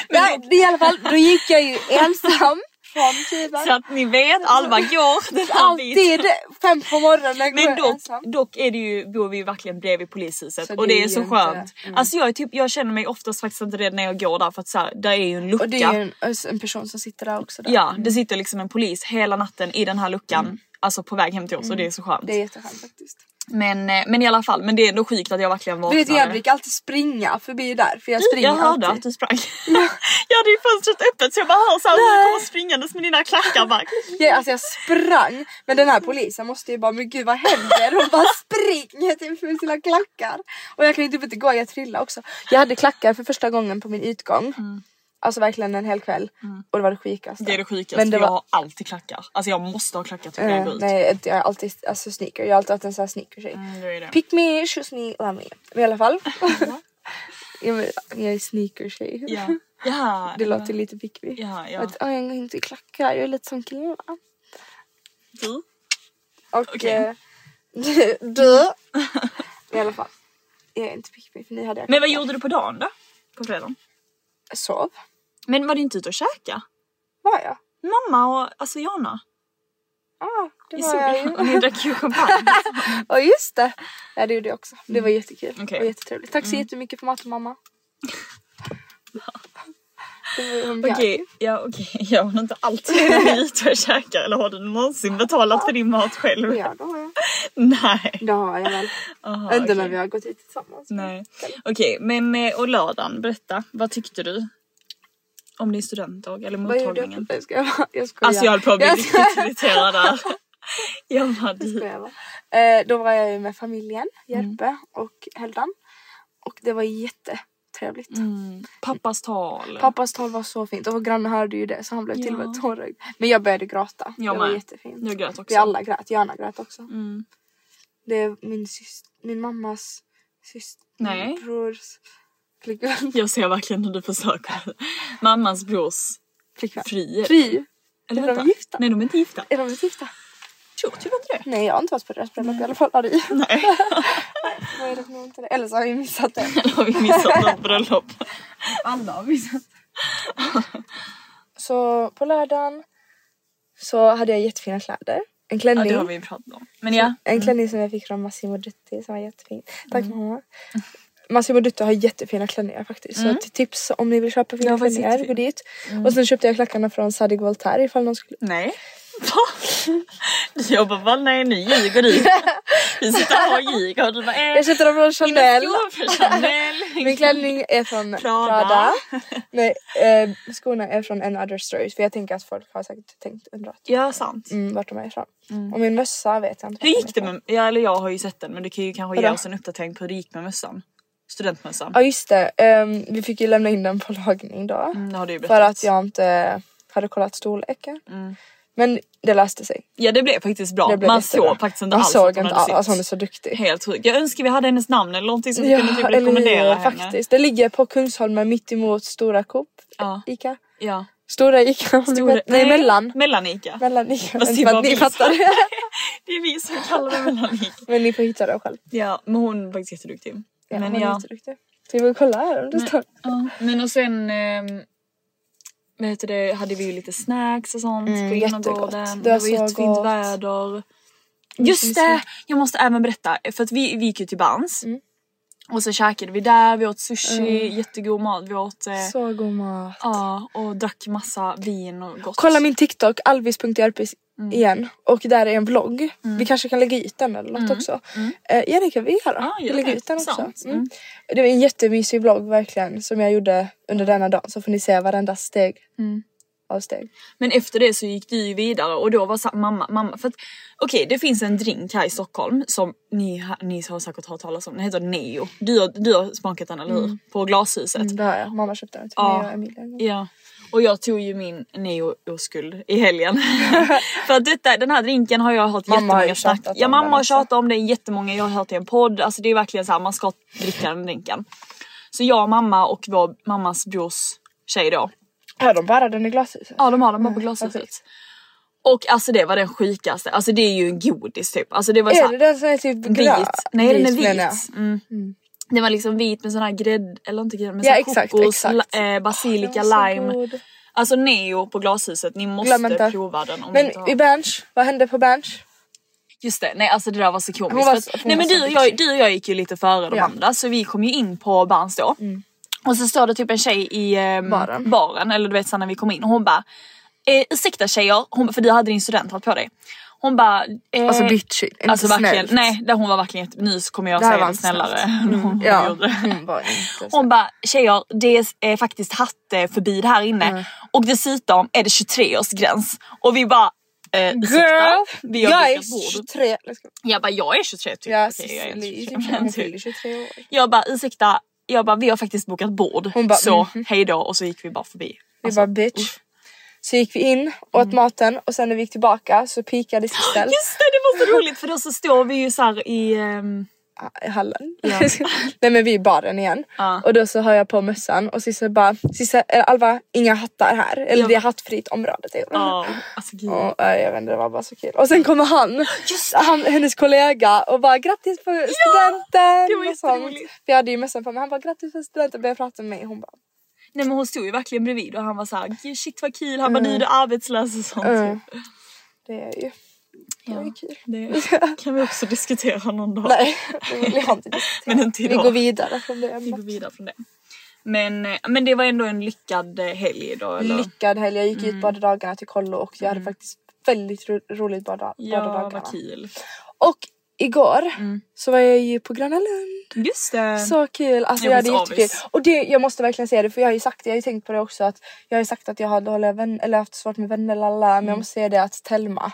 [SPEAKER 2] Nej, det är i alla fall, då gick jag ju ensam från
[SPEAKER 1] så
[SPEAKER 2] tuben.
[SPEAKER 1] att ni vet, Alva går den här biten.
[SPEAKER 2] Alltid fem på morgonen går
[SPEAKER 1] Men
[SPEAKER 2] jag
[SPEAKER 1] dock,
[SPEAKER 2] ensam.
[SPEAKER 1] dock är det ju, bor vi ju verkligen bredvid polishuset
[SPEAKER 2] Så
[SPEAKER 1] och
[SPEAKER 2] det
[SPEAKER 1] det
[SPEAKER 2] är
[SPEAKER 1] är så
[SPEAKER 2] ju inte- Mm.
[SPEAKER 1] skönt. Alltså jag, är typ, jag känner mig oftast faktiskt inte rädd när jag går där för att så här, där är ju en lucka.
[SPEAKER 2] Och det är ju en, alltså, Mm. en person som sitter där också. Där.
[SPEAKER 1] Ja, det sitter liksom en polis hela natten i den här luckan. Alltså på väg hem till oss och det är så skönt.
[SPEAKER 2] Mm. Det är jätteskönt faktiskt.
[SPEAKER 1] Men, eh, men i alla fall, men det är ändå sjukt att jag verkligen
[SPEAKER 2] Du
[SPEAKER 1] vaknade.
[SPEAKER 2] vet jag brukar alltid springa förbi där för jag springer
[SPEAKER 1] jag hörde att
[SPEAKER 2] alltid.
[SPEAKER 1] du sprang. jag hade ju fönstret öppet så jag bara hör såhär hur du kommer springandes med dina klackar bara.
[SPEAKER 2] Jag, alltså jag sprang men den här polisen måste ju bara men gud vad händer? Hon bara springer typ med sina klackar. Och jag kan ju typ inte gå, jag trillade också. Jag hade klackar för första gången på min utgång. Alltså verkligen en hel kväll. Och det var det sjukaste.
[SPEAKER 1] Mm. Det är det sjukaste,
[SPEAKER 2] Men det
[SPEAKER 1] för jag
[SPEAKER 2] var-
[SPEAKER 1] har alltid klackar. Alltså jag måste ha klackar till jag
[SPEAKER 2] Eh,
[SPEAKER 1] går ut.
[SPEAKER 2] nej inte- jag har alltid alltså, sneaker, jag har alltid varit en sån här sneaker-tjej.
[SPEAKER 1] Mm, det är det.
[SPEAKER 2] Pick me, choose me, love me. Men i alla fall. jag, jag är sneaker-tjej.
[SPEAKER 1] Ja. Ja.
[SPEAKER 2] Det låter lite pick me.
[SPEAKER 1] Ja, ja.
[SPEAKER 2] Att, "Åh, jag går inte i klackar, jag är lite som killarna.
[SPEAKER 1] Du?
[SPEAKER 2] Och
[SPEAKER 1] Okej.
[SPEAKER 2] eh, du. I alla fall. Jag är inte pick me för ni hade jag
[SPEAKER 1] Men vad gjorde du på dagen då? På fredagen?
[SPEAKER 2] Jag Sov.
[SPEAKER 1] Men var du inte ute och käka?
[SPEAKER 2] Var jag?
[SPEAKER 1] Mamma och alltså Jana?
[SPEAKER 2] Ja, ah, det
[SPEAKER 1] I
[SPEAKER 2] var jag
[SPEAKER 1] solen?
[SPEAKER 2] ju.
[SPEAKER 1] Och ni drack ju champagne.
[SPEAKER 2] Ja just det. Ja det gjorde jag också. Det var jättekul.
[SPEAKER 1] Mm. Okej. Mm.
[SPEAKER 2] Och jättetrevligt. Tack så jättemycket för maten mamma. Det var ju hon bjöd.
[SPEAKER 1] Okej, ja okej. Jag har inte alltid varit ute och käkar eller har du någonsin betalat för din mat själv?
[SPEAKER 2] Ja det har jag.
[SPEAKER 1] Nej.
[SPEAKER 2] Det har jag väl.
[SPEAKER 1] Aha,
[SPEAKER 2] Inte
[SPEAKER 1] okej.
[SPEAKER 2] när vi har gått ut tillsammans.
[SPEAKER 1] Nej. Okej, men eh, och lördagen, berätta. Vad tyckte du? Om din studentdag eller
[SPEAKER 2] Vad gjorde jag?
[SPEAKER 1] mottagningen?
[SPEAKER 2] Jag skojar. Jag skojar.
[SPEAKER 1] Alltså jag höll på att bli
[SPEAKER 2] Jag
[SPEAKER 1] riktigt irriterad där. Jag bara, du-
[SPEAKER 2] skojar bara. Eh, då var jag ju med familjen,
[SPEAKER 1] Mm.
[SPEAKER 2] Jerpe och Heldan. Och det var jättetrevligt.
[SPEAKER 1] Mm. pappas tal.
[SPEAKER 2] Pappas tal var så fint och vår granne hörde ju det så han blev till och med
[SPEAKER 1] Ja.
[SPEAKER 2] tårögd. Men jag började gråta.
[SPEAKER 1] Jag
[SPEAKER 2] det var
[SPEAKER 1] med.
[SPEAKER 2] jättefint.
[SPEAKER 1] Jag grät också.
[SPEAKER 2] Vi alla grät, Johanna grät också.
[SPEAKER 1] Mm.
[SPEAKER 2] Det är min, syst- min mammas syster,
[SPEAKER 1] Nej.
[SPEAKER 2] min brors flickvän.
[SPEAKER 1] Jag ser verkligen hur du försöker. Mammas brors
[SPEAKER 2] flickvän.
[SPEAKER 1] frier.
[SPEAKER 2] Fri?
[SPEAKER 1] Eller
[SPEAKER 2] Är de
[SPEAKER 1] vänta.
[SPEAKER 2] gifta?
[SPEAKER 1] Nej de är inte gifta.
[SPEAKER 2] Är de inte gifta?
[SPEAKER 1] Tror typ inte det.
[SPEAKER 2] Nej jag har inte varit på deras bröllop i alla fall. Har du?
[SPEAKER 1] Nej,
[SPEAKER 2] Vad är det för något? Eller så har vi missat det.
[SPEAKER 1] då har vi missat något bröllop.
[SPEAKER 2] Alla har missat Så på lördagen så hade jag jättefina kläder. En
[SPEAKER 1] Ja,
[SPEAKER 2] klänning.
[SPEAKER 1] det har vi ju pratat om. Men ja.
[SPEAKER 2] En klänning som jag fick från Massimo Dutti som var jättefin. Tack
[SPEAKER 1] Mm.
[SPEAKER 2] mamma. Massimo Dutti har jättefina klänningar faktiskt.
[SPEAKER 1] Mm.
[SPEAKER 2] Så till tips om ni vill köpa fina
[SPEAKER 1] var
[SPEAKER 2] klänningar,
[SPEAKER 1] jättefin.
[SPEAKER 2] gå dit. Och sen köpte jag klackarna från Sadig Voltaire ifall någon skulle...
[SPEAKER 1] Nej. Jag bara va nej nu ljuger du. Vi sitter här och ljuger och du bara eh.
[SPEAKER 2] Jag köpte dem från
[SPEAKER 1] mina
[SPEAKER 2] Chanel.
[SPEAKER 1] skor från Chanel.
[SPEAKER 2] Min klänning är från
[SPEAKER 1] Prada.
[SPEAKER 2] Prada. Nej, eh, skorna är från En Other Stories för jag tänker att folk har säkert tänkt undrat
[SPEAKER 1] Ja sant.
[SPEAKER 2] mm, vart de är ifrån. Och min mössa vet jag inte.
[SPEAKER 1] Hur
[SPEAKER 2] vart den
[SPEAKER 1] gick det
[SPEAKER 2] är ifrån.
[SPEAKER 1] med, ja, eller jag har ju sett den men du kan ju kanske ge
[SPEAKER 2] Vadå?
[SPEAKER 1] oss en uppdatering på hur det gick med mössan. Studentmössan.
[SPEAKER 2] Ja just det, Ehm, vi fick ju lämna in den på lagning då.
[SPEAKER 1] Mm, det har du ju
[SPEAKER 2] För
[SPEAKER 1] berättat.
[SPEAKER 2] att jag inte hade kollat storleken. Men det löste sig.
[SPEAKER 1] Mm. Ja det blev faktiskt bra.
[SPEAKER 2] Det blev
[SPEAKER 1] Man
[SPEAKER 2] jättebra.
[SPEAKER 1] såg faktiskt inte
[SPEAKER 2] Man
[SPEAKER 1] alls
[SPEAKER 2] såg
[SPEAKER 1] att hon hade
[SPEAKER 2] inte alls,
[SPEAKER 1] sytt.
[SPEAKER 2] alltså hon är så duktig.
[SPEAKER 1] Helt sjukt. Jag önskar vi hade hennes namn eller någonting som vi kunde typ
[SPEAKER 2] eller hur,
[SPEAKER 1] rekommendera henne.
[SPEAKER 2] faktiskt. Det ligger på Kungsholmen mitt emot Stora Coop.
[SPEAKER 1] Ja.
[SPEAKER 2] Ica.
[SPEAKER 1] Ja.
[SPEAKER 2] Stora Ica. om ni
[SPEAKER 1] Stora-
[SPEAKER 2] vet. Nej, mellan.
[SPEAKER 1] Mellan Ica.
[SPEAKER 2] Mellan Ica.
[SPEAKER 1] Fast det
[SPEAKER 2] För
[SPEAKER 1] var
[SPEAKER 2] att ni
[SPEAKER 1] vi
[SPEAKER 2] fattar
[SPEAKER 1] som-
[SPEAKER 2] det.
[SPEAKER 1] Det är vi som kallar det mellan Ica.
[SPEAKER 2] Men ni får hitta det själv.
[SPEAKER 1] Ja men hon är faktiskt jätteduktig.
[SPEAKER 2] Ja,
[SPEAKER 1] men
[SPEAKER 2] hon är
[SPEAKER 1] ja.
[SPEAKER 2] jätteduktig. Ska vi kolla här om det står?
[SPEAKER 1] Ja, men och sen ehm, vad heter det, hade vi ju lite snacks och sånt
[SPEAKER 2] Mm,
[SPEAKER 1] på
[SPEAKER 2] jättegott.
[SPEAKER 1] innergården.
[SPEAKER 2] Det
[SPEAKER 1] Det, var
[SPEAKER 2] var så
[SPEAKER 1] jättefint
[SPEAKER 2] gott.
[SPEAKER 1] väder. Just det! Jag måste även berätta, för att vi, vi gick ju till Bans.
[SPEAKER 2] Mm.
[SPEAKER 1] Och så käkade vi där, vi åt sushi, jättegod mat. Vi åt eh,
[SPEAKER 2] Så god mat.
[SPEAKER 1] ja, och drack massa vin och gott.
[SPEAKER 2] Kolla min TikTok, alvis.jrpis
[SPEAKER 1] Mm.
[SPEAKER 2] igen. Och där är en vlogg. Vi kanske kan lägga ut den eller något också. Eh, ja det kan vi göra.
[SPEAKER 1] Mm. Ah, Ja,
[SPEAKER 2] vi
[SPEAKER 1] gör
[SPEAKER 2] lägger
[SPEAKER 1] det.
[SPEAKER 2] ut den också.
[SPEAKER 1] Sant.
[SPEAKER 2] Mm. Det var en jättemysig vlogg verkligen som jag gjorde under denna dagen. Så får ni se varenda steg.
[SPEAKER 1] Mm.
[SPEAKER 2] Avsteg.
[SPEAKER 1] Men efter det så gick du ju vidare och då var så här, mamma, mamma. För att okej det finns en drink här i Stockholm som ni, ha- ni har säkert hört talas om. Den heter Neo. Du har, du har smakat den eller hur? På glashuset.
[SPEAKER 2] Mm, det har jag. Mamma köpte den till
[SPEAKER 1] Ja.
[SPEAKER 2] mig och Emilia. en gång.
[SPEAKER 1] Ja. Och jag tog ju min neo-oskuld i helgen. För att detta, den här drinken har jag hört
[SPEAKER 2] Mamma har ju
[SPEAKER 1] jättemånga snack.
[SPEAKER 2] tjatat om
[SPEAKER 1] Ja
[SPEAKER 2] den
[SPEAKER 1] mamma har
[SPEAKER 2] också.
[SPEAKER 1] tjatat om den jättemånga, jag har hört det i en podd. Alltså det är verkligen så här, man ska dricka den drinken. Så jag, och mamma och vår mammas brors tjej då.
[SPEAKER 2] Har de bara den i glashuset?
[SPEAKER 1] Ja de har den bara på glashuset. Och alltså det var den sjukaste, alltså det är ju en godis typ. Alltså det var så
[SPEAKER 2] Är
[SPEAKER 1] här,
[SPEAKER 2] det den som är typ
[SPEAKER 1] vit.
[SPEAKER 2] grön?
[SPEAKER 1] Nej den är
[SPEAKER 2] menar jag.
[SPEAKER 1] vit. Mm. Den var liksom vit med sån här grädd, eller inte grädd, men
[SPEAKER 2] Ja,
[SPEAKER 1] sån
[SPEAKER 2] exakt,
[SPEAKER 1] kokos,
[SPEAKER 2] exakt.
[SPEAKER 1] la- eh, basilika,
[SPEAKER 2] Den var så
[SPEAKER 1] lime.
[SPEAKER 2] god.
[SPEAKER 1] Alltså Neo på glashuset, ni
[SPEAKER 2] Glöm
[SPEAKER 1] måste
[SPEAKER 2] inte.
[SPEAKER 1] prova den om ni
[SPEAKER 2] Men
[SPEAKER 1] inte
[SPEAKER 2] i
[SPEAKER 1] har.
[SPEAKER 2] Berns, vad hände på Berns?
[SPEAKER 1] Just det, nej alltså det där var så komiskt.
[SPEAKER 2] Hon var
[SPEAKER 1] för att-
[SPEAKER 2] så- hon
[SPEAKER 1] nej
[SPEAKER 2] var
[SPEAKER 1] men
[SPEAKER 2] så
[SPEAKER 1] du och, jag, du och jag gick ju lite före de
[SPEAKER 2] Ja. Mm.
[SPEAKER 1] andra så vi kom ju in på Berns då. Och så står det typ en tjej i ehm,
[SPEAKER 2] Baren.
[SPEAKER 1] baren, eller du vet så när vi kom in och hon bara eh, ursäkta tjejer, hon, för du hade din studenthatt på dig. Hon bara... Eh,
[SPEAKER 2] Alltså bitchig, inte
[SPEAKER 1] alltså verkligen,
[SPEAKER 2] snällt.
[SPEAKER 1] nej där hon var verkligen jätte- nu så kommer jag
[SPEAKER 2] Det här
[SPEAKER 1] säga
[SPEAKER 2] var
[SPEAKER 1] det
[SPEAKER 2] inte snällt.
[SPEAKER 1] snällare
[SPEAKER 2] Mm.
[SPEAKER 1] än hon, hon
[SPEAKER 2] Ja,
[SPEAKER 1] gjorde.
[SPEAKER 2] hon var inte så.
[SPEAKER 1] Hon bara tjejer det är eh, faktiskt hatteförbud här inne
[SPEAKER 2] Mm.
[SPEAKER 1] och dessutom är det 23-årsgräns och vi bara eh, ursäkta,
[SPEAKER 2] Girl,
[SPEAKER 1] vi har
[SPEAKER 2] jag är
[SPEAKER 1] dukat bord.
[SPEAKER 2] 23. Let's go.
[SPEAKER 1] Jag bara jag är 23 typ.
[SPEAKER 2] Ja,
[SPEAKER 1] Okej, jag, är
[SPEAKER 2] Cicely,
[SPEAKER 1] 23,
[SPEAKER 2] typ,
[SPEAKER 1] men
[SPEAKER 2] hon
[SPEAKER 1] typ.
[SPEAKER 2] fyller 23 år.
[SPEAKER 1] jag bara ursäkta, jag bara vi har faktiskt bokat bord
[SPEAKER 2] Hon bara,
[SPEAKER 1] så
[SPEAKER 2] mhm.
[SPEAKER 1] hej då och så gick vi bara förbi. Alltså,
[SPEAKER 2] Vi bara bitch. Så gick vi in, åt maten och sen när vi gick tillbaka så pikade Sissel
[SPEAKER 1] Mm. Just det, det var så roligt för då så står vi ju så här i ehm,
[SPEAKER 2] Ah, i hallen. Nej men vi är i baren igen. Och då så har jag på mössan och Sissel bara Sissel, eller Alva inga hattar här. Eller det är hattfritt område typ.
[SPEAKER 1] ja, alltså gud.
[SPEAKER 2] Och, eh, jag vet inte, det var bara så kul. Och sen kommer han, han hennes kollega och bara grattis på studenten!
[SPEAKER 1] det var
[SPEAKER 2] och sånt.
[SPEAKER 1] jätteroligt.
[SPEAKER 2] För jag hade ju mössan på mig. Han bara grattis på studenten och började prata med mig. Hon bara
[SPEAKER 1] Nej men hon stod ju verkligen bredvid och han var så här "Gud, shit vad kul, han bara nu är du arbetslös och sånt.
[SPEAKER 2] Mm.
[SPEAKER 1] Typ.
[SPEAKER 2] det är ju... Det var ju kul.
[SPEAKER 1] Det kan vi också diskutera någon dag.
[SPEAKER 2] Nej, det vill jag inte
[SPEAKER 1] Men inte
[SPEAKER 2] Vi
[SPEAKER 1] idag.
[SPEAKER 2] går vidare från det
[SPEAKER 1] Vi
[SPEAKER 2] ämnet.
[SPEAKER 1] går vidare från det. Men, eh, men det var ändå en lyckad eh, helg då eller?
[SPEAKER 2] lyckad helg. Jag gick
[SPEAKER 1] Mm.
[SPEAKER 2] ut båda dagarna till kollo och jag hade faktiskt väldigt ro- roligt båda, båda
[SPEAKER 1] ja,
[SPEAKER 2] dagarna.
[SPEAKER 1] vad kul. Mm.
[SPEAKER 2] Och igår så var jag ju på Gröna Lund.
[SPEAKER 1] Just det.
[SPEAKER 2] Så kul! Alltså
[SPEAKER 1] Jag
[SPEAKER 2] jag,
[SPEAKER 1] blir
[SPEAKER 2] hade
[SPEAKER 1] så
[SPEAKER 2] jättekul.
[SPEAKER 1] avis.
[SPEAKER 2] Och det, jag måste verkligen säga det för jag har ju sagt det, jag har ju tänkt på det också att jag har ju sagt att jag har dåliga vänner eller haft svårt med vänner lalla men
[SPEAKER 1] Mm.
[SPEAKER 2] jag måste säga det att Telma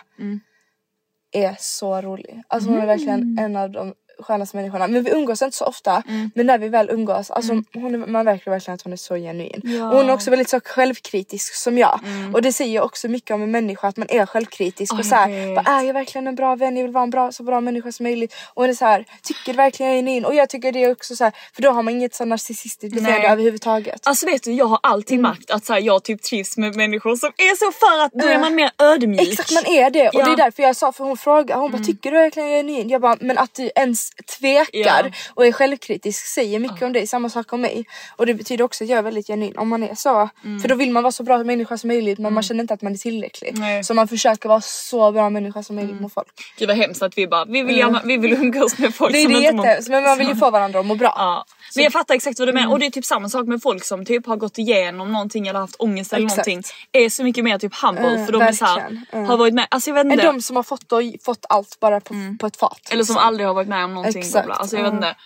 [SPEAKER 2] är så rolig. Alltså hon är verkligen
[SPEAKER 1] Mm.
[SPEAKER 2] en av de skönaste människorna. Men vi umgås inte så ofta men när vi väl umgås, alltså hon är, man märker verkligen att hon är så genuin.
[SPEAKER 1] Mm. Ja. Mm.
[SPEAKER 2] Och hon är också väldigt så självkritisk som jag. Och det säger ju också mycket om en människa att man är självkritisk
[SPEAKER 1] Ja,
[SPEAKER 2] och
[SPEAKER 1] jag
[SPEAKER 2] så
[SPEAKER 1] vet.
[SPEAKER 2] här, vad är jag verkligen en bra vän? Jag vill vara en bra, så bra människa som möjligt. Och hon är så här, tycker verkligen jag är genuin. Och jag tycker det är också så här, för då har man inget så narcissistiskt beteende
[SPEAKER 1] Nej.
[SPEAKER 2] överhuvudtaget.
[SPEAKER 1] Alltså vet du, jag har alltid
[SPEAKER 2] Mm.
[SPEAKER 1] märkt att så här, jag typ trivs med människor som är så för att då är man mer ödmjuk.
[SPEAKER 2] Exakt man är det och
[SPEAKER 1] Ja. Mm.
[SPEAKER 2] det är därför jag sa för hon frågade, hon bara tycker du verkligen jag är genuin? Jag bara men att du ens tvekar
[SPEAKER 1] Ja.
[SPEAKER 2] och är självkritisk säger mycket om dig, samma sak om mig. Och det betyder också att jag är väldigt genuin om man är så.
[SPEAKER 1] Mm.
[SPEAKER 2] För då vill man vara så bra människa som möjligt men man känner inte att man är tillräcklig.
[SPEAKER 1] Nej. Mm.
[SPEAKER 2] Så man försöker vara så bra människa som möjligt mot folk.
[SPEAKER 1] Gud vad hemskt att vi bara, vi vill, gärna, vi vill umgås med folk som
[SPEAKER 2] Mm. Det är det
[SPEAKER 1] inte mår-
[SPEAKER 2] jättehemskt men man vill ju få Mm. varandra att må bra.
[SPEAKER 1] Ja. Men jag fattar exakt vad du menar och det är typ samma sak med folk som typ har gått igenom någonting eller haft ångest eller
[SPEAKER 2] Exakt.
[SPEAKER 1] någonting. Är så mycket mer typ humble
[SPEAKER 2] Mm,
[SPEAKER 1] för de är såhär,
[SPEAKER 2] verkligen. Mm.
[SPEAKER 1] har varit med, alltså jag vet
[SPEAKER 2] Än
[SPEAKER 1] inte.
[SPEAKER 2] de som har fått, och, fått allt bara på, på ett fat.
[SPEAKER 1] Mm. Eller som
[SPEAKER 2] liksom.
[SPEAKER 1] aldrig har varit med om någonting.
[SPEAKER 2] Exakt,
[SPEAKER 1] Exakt. Alltså jag
[SPEAKER 2] ja.
[SPEAKER 1] vet inte.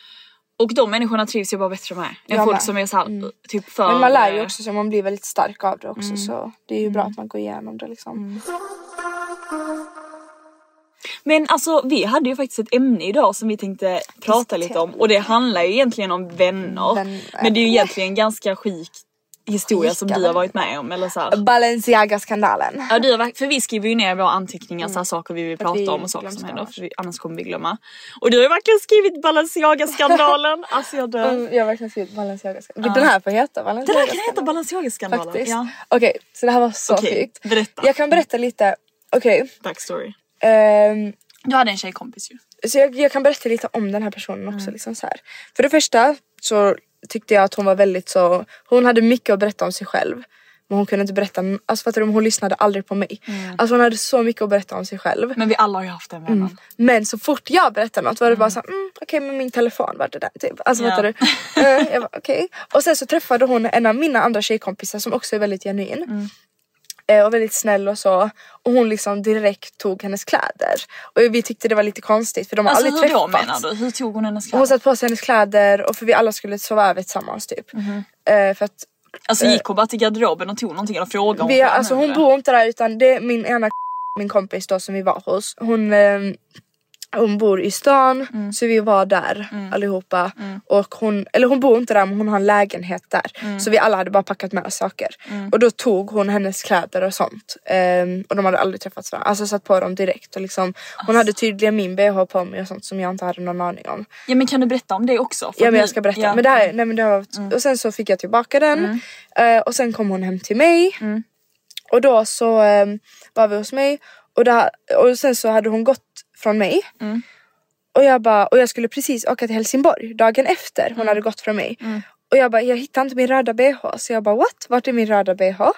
[SPEAKER 1] Och de människorna trivs ju bara bättre med. Än
[SPEAKER 2] Jag
[SPEAKER 1] folk
[SPEAKER 2] med.
[SPEAKER 1] som är såhär typ för...
[SPEAKER 2] Mm. Men man lär ju också sig, man blir väldigt stark av det
[SPEAKER 1] Mm.
[SPEAKER 2] också så det är ju bra att man går igenom det liksom.
[SPEAKER 1] Men alltså vi hade ju faktiskt ett ämne idag som vi tänkte prata lite om och det handlar ju egentligen om vänner.
[SPEAKER 2] Vänner.
[SPEAKER 1] Men det är ju egentligen ganska sjuk historia som
[SPEAKER 2] Sjuka
[SPEAKER 1] du har
[SPEAKER 2] vänner.
[SPEAKER 1] varit med om eller såhär.
[SPEAKER 2] Balenciaga-skandalen.
[SPEAKER 1] Ja, du har, verk- för vi skriver ju ner våra anteckningar, så här saker vi vill prata
[SPEAKER 2] Mm. vi
[SPEAKER 1] om och saker som
[SPEAKER 2] glömmer
[SPEAKER 1] händer.
[SPEAKER 2] annars.
[SPEAKER 1] För vi, annars kommer vi glömma. Och du har ju verkligen skrivit Balenciaga-skandalen. alltså jag dör.
[SPEAKER 2] Mm, Jag har verkligen skrivit Balenciaga-skandalen. Den här får heta
[SPEAKER 1] Det där
[SPEAKER 2] Balenciaga-skandalen.
[SPEAKER 1] kan heta Balenciaga-skandalen.
[SPEAKER 2] Faktiskt.
[SPEAKER 1] Ja.
[SPEAKER 2] Okej, så det här var så
[SPEAKER 1] Okej,
[SPEAKER 2] sjukt.
[SPEAKER 1] berätta.
[SPEAKER 2] Jag kan berätta lite. Okej.
[SPEAKER 1] Backstory.
[SPEAKER 2] ehm,
[SPEAKER 1] Du hade en tjejkompis ju.
[SPEAKER 2] så jag, jag kan berätta lite om den här personen
[SPEAKER 1] Mm.
[SPEAKER 2] också. Liksom så här. För det första så tyckte jag att hon var väldigt så, hon hade mycket att berätta om sig själv. Men hon kunde inte berätta, alltså fattar du, hon lyssnade aldrig på mig.
[SPEAKER 1] Mm.
[SPEAKER 2] Alltså hon hade så mycket att berätta om sig själv.
[SPEAKER 1] Men vi alla har ju haft den vännen.
[SPEAKER 2] Mm. Men så fort jag berättade något var det bara såhär, mm, okej men min telefon var det där typ. Alltså
[SPEAKER 1] Ja.
[SPEAKER 2] fattar du? Eh, jag bara, okej. Och sen så träffade hon en av mina andra tjejkompisar som också är väldigt genuin.
[SPEAKER 1] Mm.
[SPEAKER 2] Eh, Och väldigt snäll och så. Och hon liksom direkt tog hennes kläder. Och vi tyckte det var lite konstigt för de har
[SPEAKER 1] Alltså hur
[SPEAKER 2] aldrig
[SPEAKER 1] då
[SPEAKER 2] träffats.
[SPEAKER 1] menar du? Hur tog hon hennes
[SPEAKER 2] Hon
[SPEAKER 1] kläder?
[SPEAKER 2] satte på sig hennes kläder och för vi alla skulle sova över tillsammans typ.
[SPEAKER 1] Mhm.
[SPEAKER 2] Eh, för att
[SPEAKER 1] Alltså gick hon bara till garderoben och tog någonting eller frågade om
[SPEAKER 2] eh, vi,
[SPEAKER 1] hon
[SPEAKER 2] alltså hon
[SPEAKER 1] använde
[SPEAKER 2] bor inte där utan det är min ena min kompis då som vi var hos. Hon, eh, hon bor i stan så vi var där allihopa. Och hon, eller hon bor inte där men hon har en lägenhet där. Så vi alla hade bara packat med oss saker. Och då tog hon hennes kläder och sånt. Ehm, och de hade aldrig träffats varandra. Alltså satt på dem direkt. Och liksom, hon hade tydligen min bh på mig och sånt som jag inte hade någon aning om.
[SPEAKER 1] det. Ja men kan du berätta om det också? För
[SPEAKER 2] Ja men
[SPEAKER 1] vi-
[SPEAKER 2] jag ska berätta.
[SPEAKER 1] Ja.
[SPEAKER 2] Men det här, nej, men det här var, Och sen så fick jag tillbaka den Eh, och sen kom hon hem till mig. Och då så eh, var vi hos mig och, där, och sen så hade hon gått från mig. Och, jag bara, och jag skulle precis åka till Helsingborg dagen efter hon hade gått från mig. Och jag bara, jag hittar inte min röda bh. Så jag bara, what? Vart är min röda bh?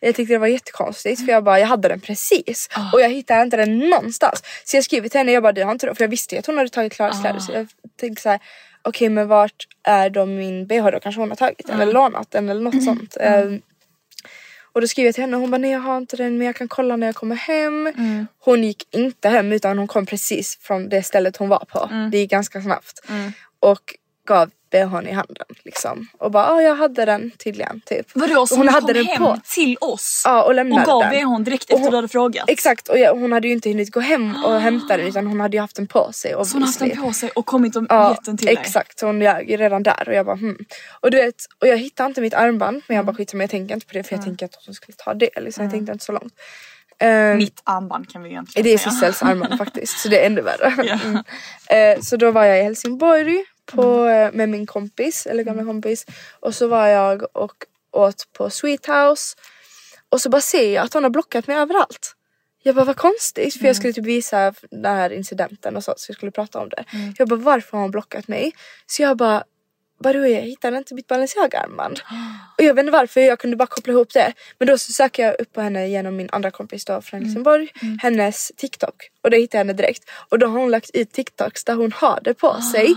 [SPEAKER 2] Jag tyckte det var jättekonstigt för jag bara, jag hade den precis. Och jag hittade inte den någonstans. Så jag skrev till henne, jag bara, du har inte den. För jag visste ju att hon hade tagit Klaras kläder. Så jag tänkte så här, okej men vart är då min bh då? Kanske hon har tagit den eller lånat den eller något sånt. Ehm, och då skrev jag till henne och hon bara nej jag har inte den men jag kan kolla när jag kommer hem.
[SPEAKER 1] Mm.
[SPEAKER 2] Hon gick inte hem utan hon kom precis från det stället hon var på.
[SPEAKER 1] Mm.
[SPEAKER 2] Det gick ganska snabbt. Och gav bhn i handen liksom. Och bara ja jag hade den tydligen typ.
[SPEAKER 1] Vadå så
[SPEAKER 2] hon hade
[SPEAKER 1] kom
[SPEAKER 2] den
[SPEAKER 1] hem
[SPEAKER 2] på.
[SPEAKER 1] till oss?
[SPEAKER 2] Ja och
[SPEAKER 1] och
[SPEAKER 2] lämnade
[SPEAKER 1] gav
[SPEAKER 2] den.
[SPEAKER 1] bhn direkt
[SPEAKER 2] Och
[SPEAKER 1] efter
[SPEAKER 2] hon-
[SPEAKER 1] du hade frågat?
[SPEAKER 2] Exakt och jag, hon hade ju inte hunnit gå hem och hämta den utan hon hade ju haft den på sig.
[SPEAKER 1] Så hon har haft den på sig och kommit och
[SPEAKER 2] Ja,
[SPEAKER 1] gett den till dig?
[SPEAKER 2] exakt. Så Hon ljög ju redan där och jag bara hmm. Och du vet, och jag hittade inte mitt armband men jag
[SPEAKER 1] Mm.
[SPEAKER 2] bara skitsamma jag tänker inte på det för jag tänker att hon skulle ta det. Liksom. Jag tänkte inte så långt. Ehm,
[SPEAKER 1] Mitt armband kan vi egentligen
[SPEAKER 2] Det är
[SPEAKER 1] säga.
[SPEAKER 2] Sissels armband faktiskt så det är ännu värre.
[SPEAKER 1] Ja.
[SPEAKER 2] Mm. Eh, så då var jag i Helsingborg på,
[SPEAKER 1] Mm.
[SPEAKER 2] eh, med min kompis, eller gamla kompis. Och så var jag och åt på Sweet House. Och så bara ser jag att hon har blockat mig överallt. Jag bara vad konstigt för
[SPEAKER 1] Mm.
[SPEAKER 2] jag skulle typ visa den här incidenten och så, så jag skulle prata om det.
[SPEAKER 1] Mm.
[SPEAKER 2] Jag bara varför har hon blockat mig? Så jag bara Vadå jag hittade inte mitt Balenciaga-armband. Och jag vet inte varför, jag kunde bara koppla ihop det. Men då så söker jag upp på henne genom min andra kompis då
[SPEAKER 1] Mm.
[SPEAKER 2] från Helsingborg, hennes TikTok. Och då hittar jag henne direkt. Och då har hon lagt ut TikToks där hon har det på
[SPEAKER 1] Ah.
[SPEAKER 2] sig.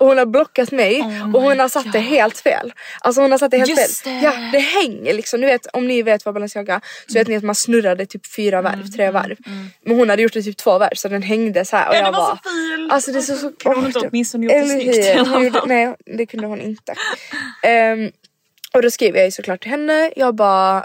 [SPEAKER 2] Och hon har blockat mig och hon har satt det helt fel. Alltså hon har satt det helt
[SPEAKER 1] Oh Just
[SPEAKER 2] fel.
[SPEAKER 1] det.
[SPEAKER 2] Ja, det hänger liksom. Ni vet, om ni vet vad Balenciaga så vet ni att man snurrade typ fyra varv, tre varv. Men hon hade gjort det typ två varv så den hängde så här. Och
[SPEAKER 1] Mm, Ja, det
[SPEAKER 2] jag
[SPEAKER 1] var så
[SPEAKER 2] bara,
[SPEAKER 1] fult.
[SPEAKER 2] Alltså det är
[SPEAKER 1] Och
[SPEAKER 2] så,
[SPEAKER 1] så
[SPEAKER 2] så
[SPEAKER 1] kunde hon inte
[SPEAKER 2] åh, det-
[SPEAKER 1] åtminstone gjort det
[SPEAKER 2] Eller
[SPEAKER 1] snyggt
[SPEAKER 2] hur?
[SPEAKER 1] i alla
[SPEAKER 2] Hon gjorde-
[SPEAKER 1] fall.
[SPEAKER 2] Nej det kunde hon inte. Ehm, och då skrev jag ju såklart till henne. Jag bara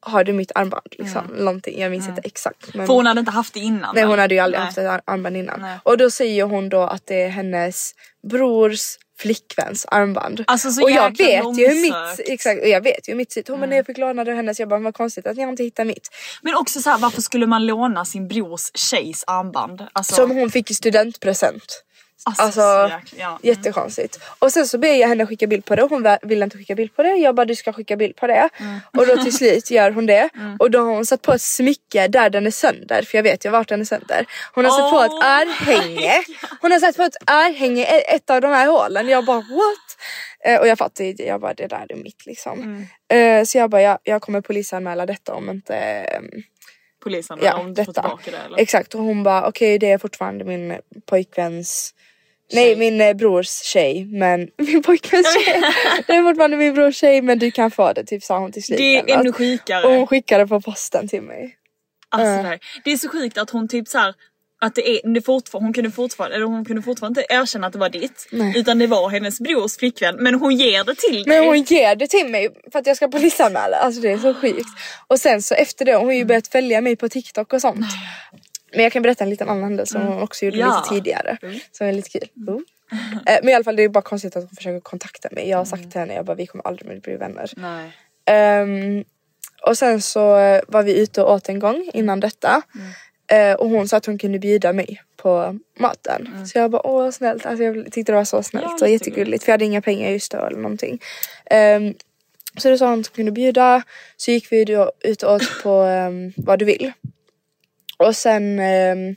[SPEAKER 2] har du mitt armband? Liksom, Någonting, jag minns inte exakt. Men...
[SPEAKER 1] Mm. För hon hade inte haft det innan?
[SPEAKER 2] Nej
[SPEAKER 1] väl?
[SPEAKER 2] hon hade ju aldrig
[SPEAKER 1] Nej.
[SPEAKER 2] haft ett ar- armband innan.
[SPEAKER 1] Nej.
[SPEAKER 2] Och då säger hon då att det är hennes brors flickväns armband.
[SPEAKER 1] Alltså, så
[SPEAKER 2] och jag
[SPEAKER 1] jäkla
[SPEAKER 2] vet ju hur
[SPEAKER 1] långsökt. Mm.
[SPEAKER 2] mitt, exakt, och jag vet ju hur mitt sitt. Hon bara nej jag fick låna det av hennes. Jag bara vad konstigt att jag inte hittar mitt.
[SPEAKER 1] Men också så här, varför skulle man låna sin brors tjejs armband? Alltså,
[SPEAKER 2] Som hon fick i studentpresent.
[SPEAKER 1] Alltså,
[SPEAKER 2] Alltså,
[SPEAKER 1] så jäkla- ja.
[SPEAKER 2] Jättekonstigt. Och sen så ber jag henne skicka bild på det och hon vä- vill inte skicka bild på det. Jag bara du ska skicka bild på det.
[SPEAKER 1] Mm.
[SPEAKER 2] Och då till slut gör hon det. Och då har hon satt på ett smycke där den är sönder. För jag vet ju vart den är sönder. Hon har satt på ett
[SPEAKER 1] Oh
[SPEAKER 2] örhänge. Hon har satt på ett örhänge i ett av de här hålen. Jag bara what? Eh, Och jag fattar inte. Jag bara det där är mitt liksom.
[SPEAKER 1] Mm.
[SPEAKER 2] Eh, Så jag bara jag, jag kommer polisanmäla detta om inte ehm,
[SPEAKER 1] Polisen
[SPEAKER 2] Ja,
[SPEAKER 1] om du får
[SPEAKER 2] detta.
[SPEAKER 1] tillbaka det eller?
[SPEAKER 2] Exakt och hon bara okej det är fortfarande min pojkväns Nej
[SPEAKER 1] Tjej.
[SPEAKER 2] min eh, brors tjej men min pojkväns tjej. Det är fortfarande min brors tjej men du kan få det typ sa hon till slut.
[SPEAKER 1] det
[SPEAKER 2] eller
[SPEAKER 1] är ännu
[SPEAKER 2] något. och
[SPEAKER 1] sjukare.
[SPEAKER 2] hon skickade på posten till mig.
[SPEAKER 1] Alltså,
[SPEAKER 2] Mm.
[SPEAKER 1] det, här. det är så sjukt att hon typ så här, att det är, det fortfar- hon, kunde fortfarande, eller hon kunde fortfarande inte erkänna att det var ditt.
[SPEAKER 2] Nej.
[SPEAKER 1] Utan det var hennes brors flickvän. Men hon ger det till
[SPEAKER 2] Men
[SPEAKER 1] dig.
[SPEAKER 2] hon ger det till mig för att jag ska polisanmäla. Alltså det är så sjukt. Och sen så efter det hon har ju börjat följa mig på TikTok och sånt. Men jag kan berätta en liten annan händelse som hon också gjorde
[SPEAKER 1] Ja. Mm.
[SPEAKER 2] lite tidigare. Som är lite kul. Oh. Eh, Men i alla fall det är bara konstigt att hon försöker kontakta mig. Jag har sagt till henne jag bara vi kommer aldrig mer bli vänner.
[SPEAKER 1] Mm. Nej.
[SPEAKER 2] Ehm, och sen så eh, var vi ute och åt en gång innan detta.
[SPEAKER 1] Mm.
[SPEAKER 2] Eh, och hon sa att hon kunde bjuda mig på maten. Så jag bara åh snällt. Alltså jag tyckte det var så snällt
[SPEAKER 1] Mm. Ja,
[SPEAKER 2] och
[SPEAKER 1] jättegulligt.
[SPEAKER 2] jättegulligt. För jag hade inga pengar just då eller någonting. Ehm, så då sa hon att hon kunde bjuda. Så gick vi då ut och åt på ehm, vad du vill. Och sen ehm,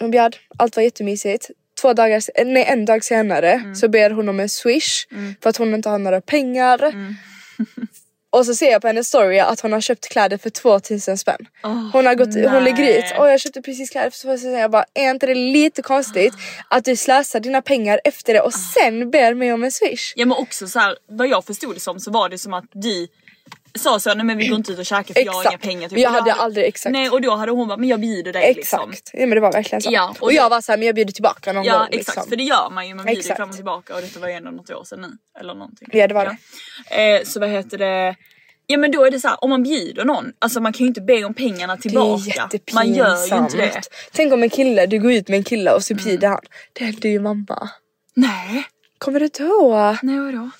[SPEAKER 2] hon bjöd, allt var jättemysigt. Två dagar, se- eh, nej en dag senare
[SPEAKER 1] Mm.
[SPEAKER 2] så ber hon om en swish för att hon inte har några pengar.
[SPEAKER 1] Mm.
[SPEAKER 2] och så ser jag på hennes story att hon har köpt kläder för 2000 spänn. hon, har gått, hon lägger ut,
[SPEAKER 1] nej.
[SPEAKER 2] åh jag köpte precis kläder för 2000 spänn. Jag bara, är inte det lite konstigt
[SPEAKER 1] Ah.
[SPEAKER 2] att du slösar dina pengar efter det och sen ber mig om en swish?
[SPEAKER 1] Ja men också så här, vad jag förstod det som så var det som att du sa så nej men vi går inte ut och käkar för jag har inga
[SPEAKER 2] Exakt.
[SPEAKER 1] pengar. typ."
[SPEAKER 2] Men jag
[SPEAKER 1] Och
[SPEAKER 2] hade
[SPEAKER 1] då-
[SPEAKER 2] aldrig- exakt.
[SPEAKER 1] Nej och då hade hon bara, men jag bjuder dig
[SPEAKER 2] Exakt,
[SPEAKER 1] liksom.
[SPEAKER 2] ja, men det var verkligen så.
[SPEAKER 1] Ja,
[SPEAKER 2] och,
[SPEAKER 1] och det-
[SPEAKER 2] jag var såhär, men jag bjuder tillbaka någon gång.
[SPEAKER 1] Ja exakt
[SPEAKER 2] liksom.
[SPEAKER 1] för det gör man ju, man bjuder ju
[SPEAKER 2] Exakt.
[SPEAKER 1] fram och tillbaka och detta var ju ändå något år sedan nu. Eller någonting.
[SPEAKER 2] Ja, det var det.
[SPEAKER 1] Eh, så vad heter det? Ja men då är det så här, om man bjuder någon, alltså man kan ju inte be om pengarna
[SPEAKER 2] Det är
[SPEAKER 1] tillbaka.
[SPEAKER 2] jättepinsamt.
[SPEAKER 1] man gör ju inte det.
[SPEAKER 2] Tänk om en kille, du går ut med en kille och så
[SPEAKER 1] Mm.
[SPEAKER 2] bjuder han. Det hände ju mamma.
[SPEAKER 1] Nej,
[SPEAKER 2] Kommer du inte ihåg?
[SPEAKER 1] nej vadå?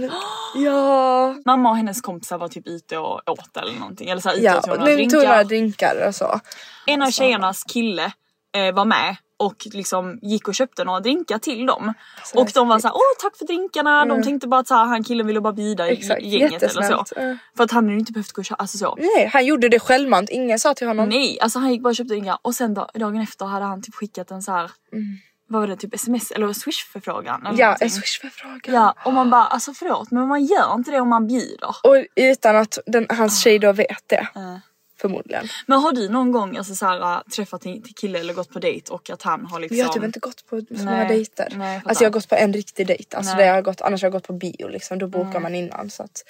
[SPEAKER 2] det- Ja.
[SPEAKER 1] Mamma och hennes kompisar var typ ute och åt eller någonting. Eller så här, ute
[SPEAKER 2] Ja,
[SPEAKER 1] och tog
[SPEAKER 2] och
[SPEAKER 1] några
[SPEAKER 2] nu tog några
[SPEAKER 1] drinkar.
[SPEAKER 2] drinkar och så.
[SPEAKER 1] En av
[SPEAKER 2] Alltså.
[SPEAKER 1] tjejernas kille eh, var med och liksom gick och köpte några drinkar till dem.
[SPEAKER 2] Alltså,
[SPEAKER 1] och de var såhär, åh tack för drinkarna. De tänkte bara att så här, han killen ville bara bjuda
[SPEAKER 2] Mm. Exakt,
[SPEAKER 1] i- gänget eller så.
[SPEAKER 2] jättesnällt, ja. Mm.
[SPEAKER 1] För att han hade ju inte behövt gå och köpa, alltså så.
[SPEAKER 2] Nej, han gjorde det självmant. Ingen sa till honom.
[SPEAKER 1] Nej, alltså han gick bara och köpte drinkar och sen da- dagen efter hade han typ skickat en så här. vad var det, typ sms eller swish-förfrågan? eller
[SPEAKER 2] Mm. Ja,
[SPEAKER 1] någonting.
[SPEAKER 2] en swishfråga.
[SPEAKER 1] Ja, och man bara, alltså förlåt men man gör inte det om man bjuder.
[SPEAKER 2] Och utan att den,
[SPEAKER 1] Ah.
[SPEAKER 2] hans tjej då vet det. Förmodligen.
[SPEAKER 1] Men har du någon gång alltså, så här, äh, träffat en kille eller gått på dejt och att han har liksom...
[SPEAKER 2] Men jag har typ inte gått på så många
[SPEAKER 1] Nej,
[SPEAKER 2] dejter.
[SPEAKER 1] nej, jag fattar.
[SPEAKER 2] alltså jag har gått på en riktig dejt. Alltså
[SPEAKER 1] Nej.
[SPEAKER 2] det jag har gått, annars har jag gått på bio liksom. Då bokar man innan så att